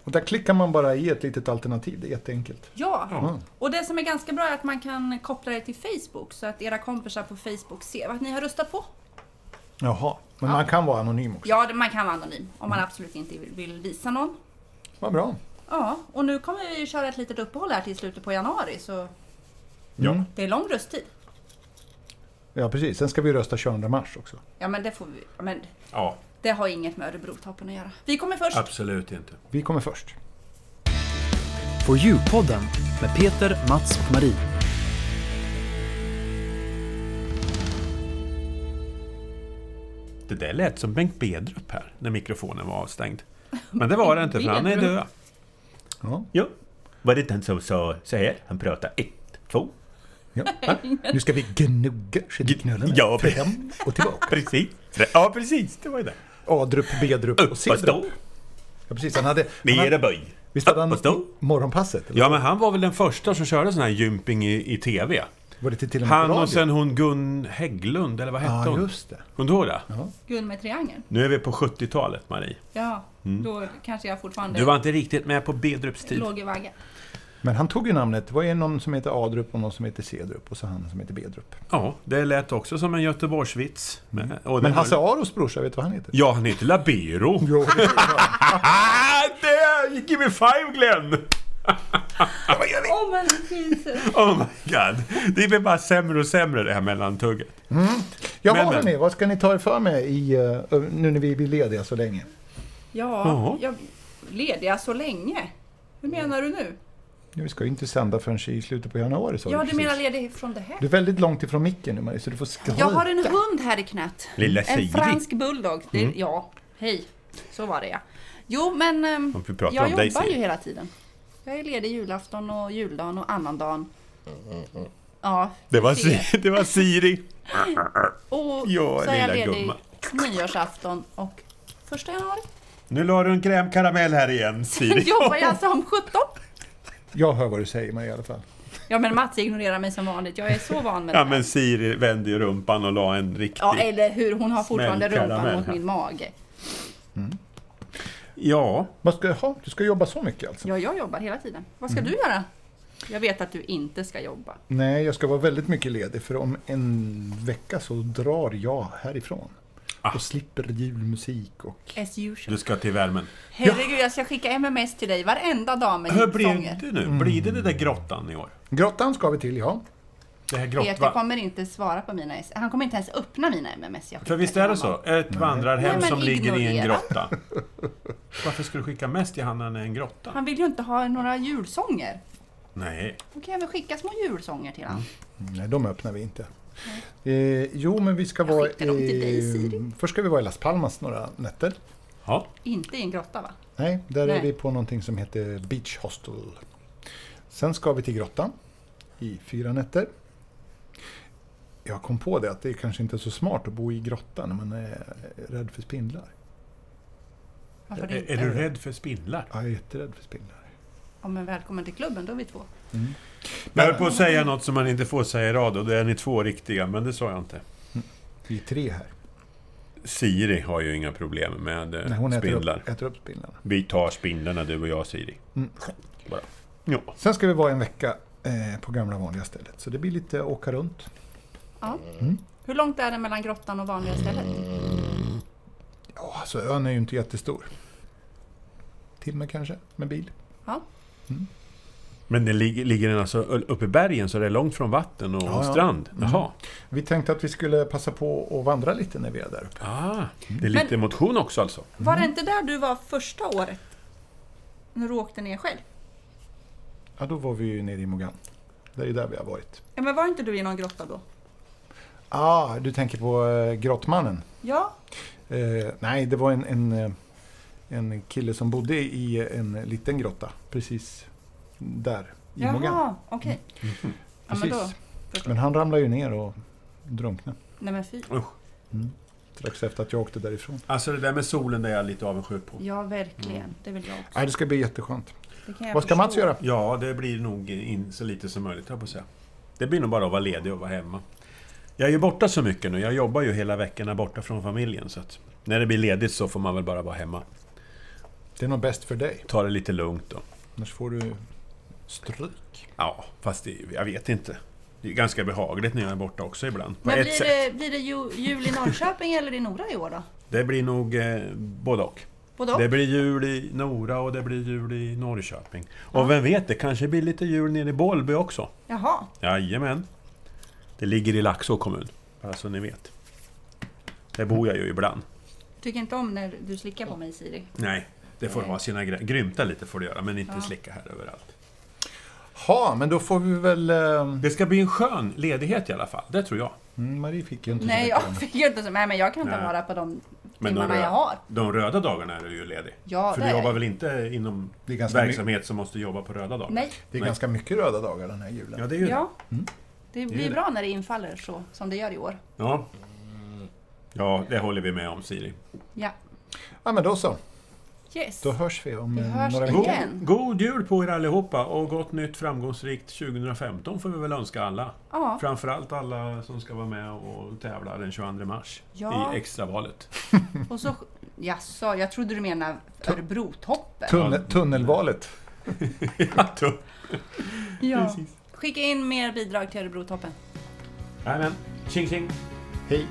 D: Och där klickar man bara i ett litet alternativ, det är jätteenkelt.
A: Ja,
D: Ja.
A: och det som är ganska bra är att man kan koppla det till Facebook så att era kompisar på Facebook ser vad ni har röstat på.
D: Jaha, men man kan vara anonym också.
A: Ja, det- man kan vara anonym om man
D: Mm.
A: absolut inte vill- vill visa någon.
D: Vad bra.
A: Ja, och nu kommer vi ju köra ett litet uppehåll här till slutet på januari så
B: Ja.
A: det är lång rösttid.
D: Mm. Ja, precis. Sen ska vi rösta 22 mars också.
A: Ja, men det får vi... ja, Men
B: ja,
A: det har inget med Örebrotoppen att göra. Vi kommer först.
B: absolut inte.
D: Vi kommer först.
C: For You-podden med Peter, Mats och Marie.
B: Det där lät som Bengt Bedrup här, när mikrofonen var avstängd. Men det var det inte, för han är
A: Bedrup.
B: död.
D: Ja.
B: Jo. Var det den som sa så här? Han pratade ett, två.
D: Ja. Nu ska vi gnugga geniknölarna.
B: Ja, pre-
D: Fram och tillbaka.
B: Precis. Ja, precis. Det var ju det.
D: Adrup, Bedrup
B: Upp
D: och
B: och
D: Cedrup.
B: stå,
D: Ja, precis. Han hade, han
B: ner
D: hade,
B: och böj.
D: visst hade
B: Upp och
D: han
B: stå.
D: morgonpasset? Eller?
B: Ja, men han var väl den första som körde sån här gymping i, i TV.
D: Var det till, till och med
B: Han
D: på radio?
B: och sen hon Gun Hägglund, eller vad hette
D: Ja,
B: hon?
D: just det.
B: Kommer du ihåg det?
A: Gun med triangeln.
B: Nu är vi på 70-talet, Marie.
A: Ja, då kanske jag fortfarande
B: Mm. Du var inte riktigt med på Bedrups tid.
A: låg i vaggan.
D: Men han tog ju namnet. Det var ju någon som heter Adrup och någon som heter Cedrup och så han som heter Bedrup.
B: Ja, det lät också som en Göteborgsvits. Men, och det
D: Mm. Men
B: var-
D: Hasse Aros brorsa, vet du vad han heter?
B: Ja, han heter Labero.
D: Jo,
B: Ah, det! Give me five, Glenn!
A: Åh, men Jesus!
B: Oh my god. Det blir bara sämre och sämre det här mellantugget.
D: Jag
B: Men,
D: har
B: men.
D: hörni, vad ska ni ta er för med i, eh, nu när vi blir lediga så länge?
A: Ja,
B: Jaha.
A: jag lediga så länge. Hur menar du nu?
D: Nu ska ju inte sända förrän i slutet på januari sa
A: Ja,
D: du
A: du
D: precis.
A: menar ledig från det här?
D: Du är väldigt långt ifrån micken nu Marie, så du får skrika.
A: Jag har en hund här i knät.
B: Lilla Mm.
A: En
B: Siri.
A: fransk bulldog. Det, Ja, hej. Så var det ja. Jo, men ehm,
B: Om vi
A: jag
B: pratar om dig,
A: jobbar ju
B: Siri.
A: hela tiden. Jag är ledig julafton och juldagen och annandagen. Ja,
B: Det var,
A: Se.
B: Si- det var Siri.
A: och
B: Ja,
A: så är jag
B: lilla
A: ledig
B: gumma.
A: nyårsafton och första januari.
B: Nu la du en krämkaramell här igen, Siri.
A: Jobbar jag som 17.
D: Jag hör vad du säger Marie i alla fall.
A: Ja, men Mats ignorerar mig som vanligt. Jag är så van med det.
B: Ja,
A: här.
B: men Siri vände ju rumpan och la en riktig...
A: Ja, eller hur? Hon har fortfarande
B: Smäll
A: rumpan
B: karamell
A: mot
B: här.
A: min mage.
B: Ja.
D: Vad ska, jaha, du ska jobba så mycket alltså?
A: Ja, jag jobbar hela tiden. Vad ska
B: Mm.
A: du göra? Jag vet att du inte ska jobba.
D: Nej, jag ska vara väldigt mycket ledig för om en vecka så drar jag härifrån. Och slipper julmusik och...
A: As usual.
B: Du ska till värmen.
A: Herregud, jag ska skicka MMS till dig varenda dag med
B: Hur
A: julsånger.
B: blir det nu? Blir det den där grottan i år?
D: Grottan ska vi till, ja.
B: Det här
A: Peter
B: grottvan...
A: kommer inte svara på mina S. Han kommer inte ens öppna mina MMS. Jag
B: För visst
A: skickar
B: är det
A: till honom.
B: så? Ett vandrarhem
A: Nej, men
B: som ligger i en
A: ignorera.
B: grotta. Varför ska du skicka mest till han när han är i en grotta?
A: Han vill ju inte ha några julsånger.
B: Nej.
A: Då kan jag väl skicka små julsånger till honom.
B: Mm.
D: Nej, de öppnar vi inte. Eh, jo, men vi ska
A: Jag
D: vara...
A: skickar dem till dig, Siri.
D: först ska vi vara i Las Palmas några nätter.
B: Ja.
A: Inte i en grotta va?
D: Nej, där
A: Nej.
D: är vi på någonting som heter Beach Hostel. Sen ska vi till grottan i fyra nätter. jag kom på det att det är kanske inte så smart att bo i grotta när man är rädd för spindlar.
A: Varför
B: Är,
A: inte?
B: är du rädd för spindlar?
D: Jag är jätterädd för spindlar.
A: Ja, men välkommen till klubben, då är vi två.
B: Jag höll på att säga något som man inte får säga i radio. Då är ni två riktiga, men det sa jag inte.
D: Vi är tre här.
B: Siri har ju inga problem med eh,
D: Nej, hon äter
B: spindlar.
D: upp, äter upp spindlarna.
B: Vi tar spindlarna, du och jag Siri. Bara. Ja.
D: Sen ska vi vara en vecka eh, på gamla vanliga stället. Så det blir lite åka runt.
A: Ja. Hur långt är det mellan grottan och vanliga stället?
D: Ja, alltså ön är ju inte jättestor. Timme kanske, med bil.
A: Ja.
B: Men det ligger, ligger den alltså uppe i bergen så det är långt från vatten och
D: Ja, ja.
B: strand? Jaha.
D: Vi tänkte att vi skulle passa på att vandra lite när vi är där uppe.
B: Ah, det är lite
A: Men-
B: motion också alltså?
A: Var
D: Mm.
A: det inte där du var första året? När du åkte ner själv?
D: Ja, då var vi ju nere i Mogan. Det är ju där vi har varit.
A: Ja, men var inte du i någon grotta då?
D: Ah, du tänker på eh, Grottmannen?
A: Ja.
D: Eh, nej, det var en, en, eh, en kille som bodde i en liten grotta precis där i Mogan.
A: Jaha, okej. Ja, men då.
D: Precis. Men han ramlade ju ner och drunknade
A: Nej men fy.
D: strax efter att jag åkte därifrån.
B: Alltså det där med solen, det är jag lite avundsjuk på.
A: Ja, verkligen. Det vill jag också.
D: Nej, det ska bli jätteskönt.
A: Det kan jag
D: Mm. Vad ska
A: förstå.
D: Mats göra?
B: Ja, det blir nog in så lite som möjligt, höll jag på att säga. Det blir nog bara att vara ledig och vara hemma. Jag är ju borta så mycket nu. Jag jobbar ju hela veckorna borta från familjen. Så att när det blir ledigt så får man väl bara vara hemma.
D: Det är nog bäst för dig,
B: Ta det lite lugnt då.
D: annars får du stryk.
B: Ja, fast det, jag vet inte. Det är ganska behagligt när jag är borta också ibland. På
A: Men
B: ett
A: blir
B: sätt.
A: det, blir det ju, jul i Norrköping eller i Nora i år då?
B: Det blir nog eh, både och.
A: Både och?
B: Det blir jul i Nora och det blir jul i Norrköping. Och vem vet, det kanske blir lite jul nere i Bollby också.
A: Jaha.
B: Jajamän. Det ligger i Laxå kommun, bara så ni vet. Där bor jag ju ibland.
A: Tycker inte om när du slickar på mig Siri.
B: Nej, det får ha sina grä- Grymta lite får det göra, men inte slicka här överallt.
D: Ja, men då får vi väl... Eh,
B: Det ska bli en skön ledighet i alla fall, det tror jag.
D: mm, Marie fick ju inte så
A: Nej,
D: mycket
A: jag
D: än.
A: fick ju inte så. Nej, men jag kan ta
B: Nej.
A: vara på de
B: Men de
A: timmarna
B: röda,
A: jag har.
B: de röda dagarna är du ju ledig.
A: Ja,
B: För
A: det
B: du
A: är
B: jobbar
A: jag.
B: väl inte inom
D: Det är ganska my-
B: verksamhet som måste jobba på röda dagar?
A: Nej.
D: Det är
B: Nej.
D: ganska mycket röda dagar den här julen.
B: Ja, det är ju
A: Ja.
D: Mm.
A: Det
B: Det är
A: blir
B: det.
A: bra när det infaller så som det gör i år.
B: det. Ja. ja, det håller vi med om Siri.
A: Ja.
D: Ja, men då så.
A: Yes.
D: Då hörs vi om
A: Vi
D: eh,
A: hörs
D: några
A: igen.
D: veckor.
A: Igen.
B: God jul på er allihopa och gott nytt framgångsrikt 2015 får vi väl önska alla.
A: Ja.
B: Framförallt alla som ska vara med och tävla den 22 mars
A: Ja.
B: i extravalet.
A: Och så... Jaså, jag trodde du menade Örebrotoppen.
D: Tunne- tunnelvalet.
B: Ja, tuff.
A: Ja. Skicka in mer bidrag till Örebrotoppen.
B: Jajamän. Tjing tjing!
D: Hej!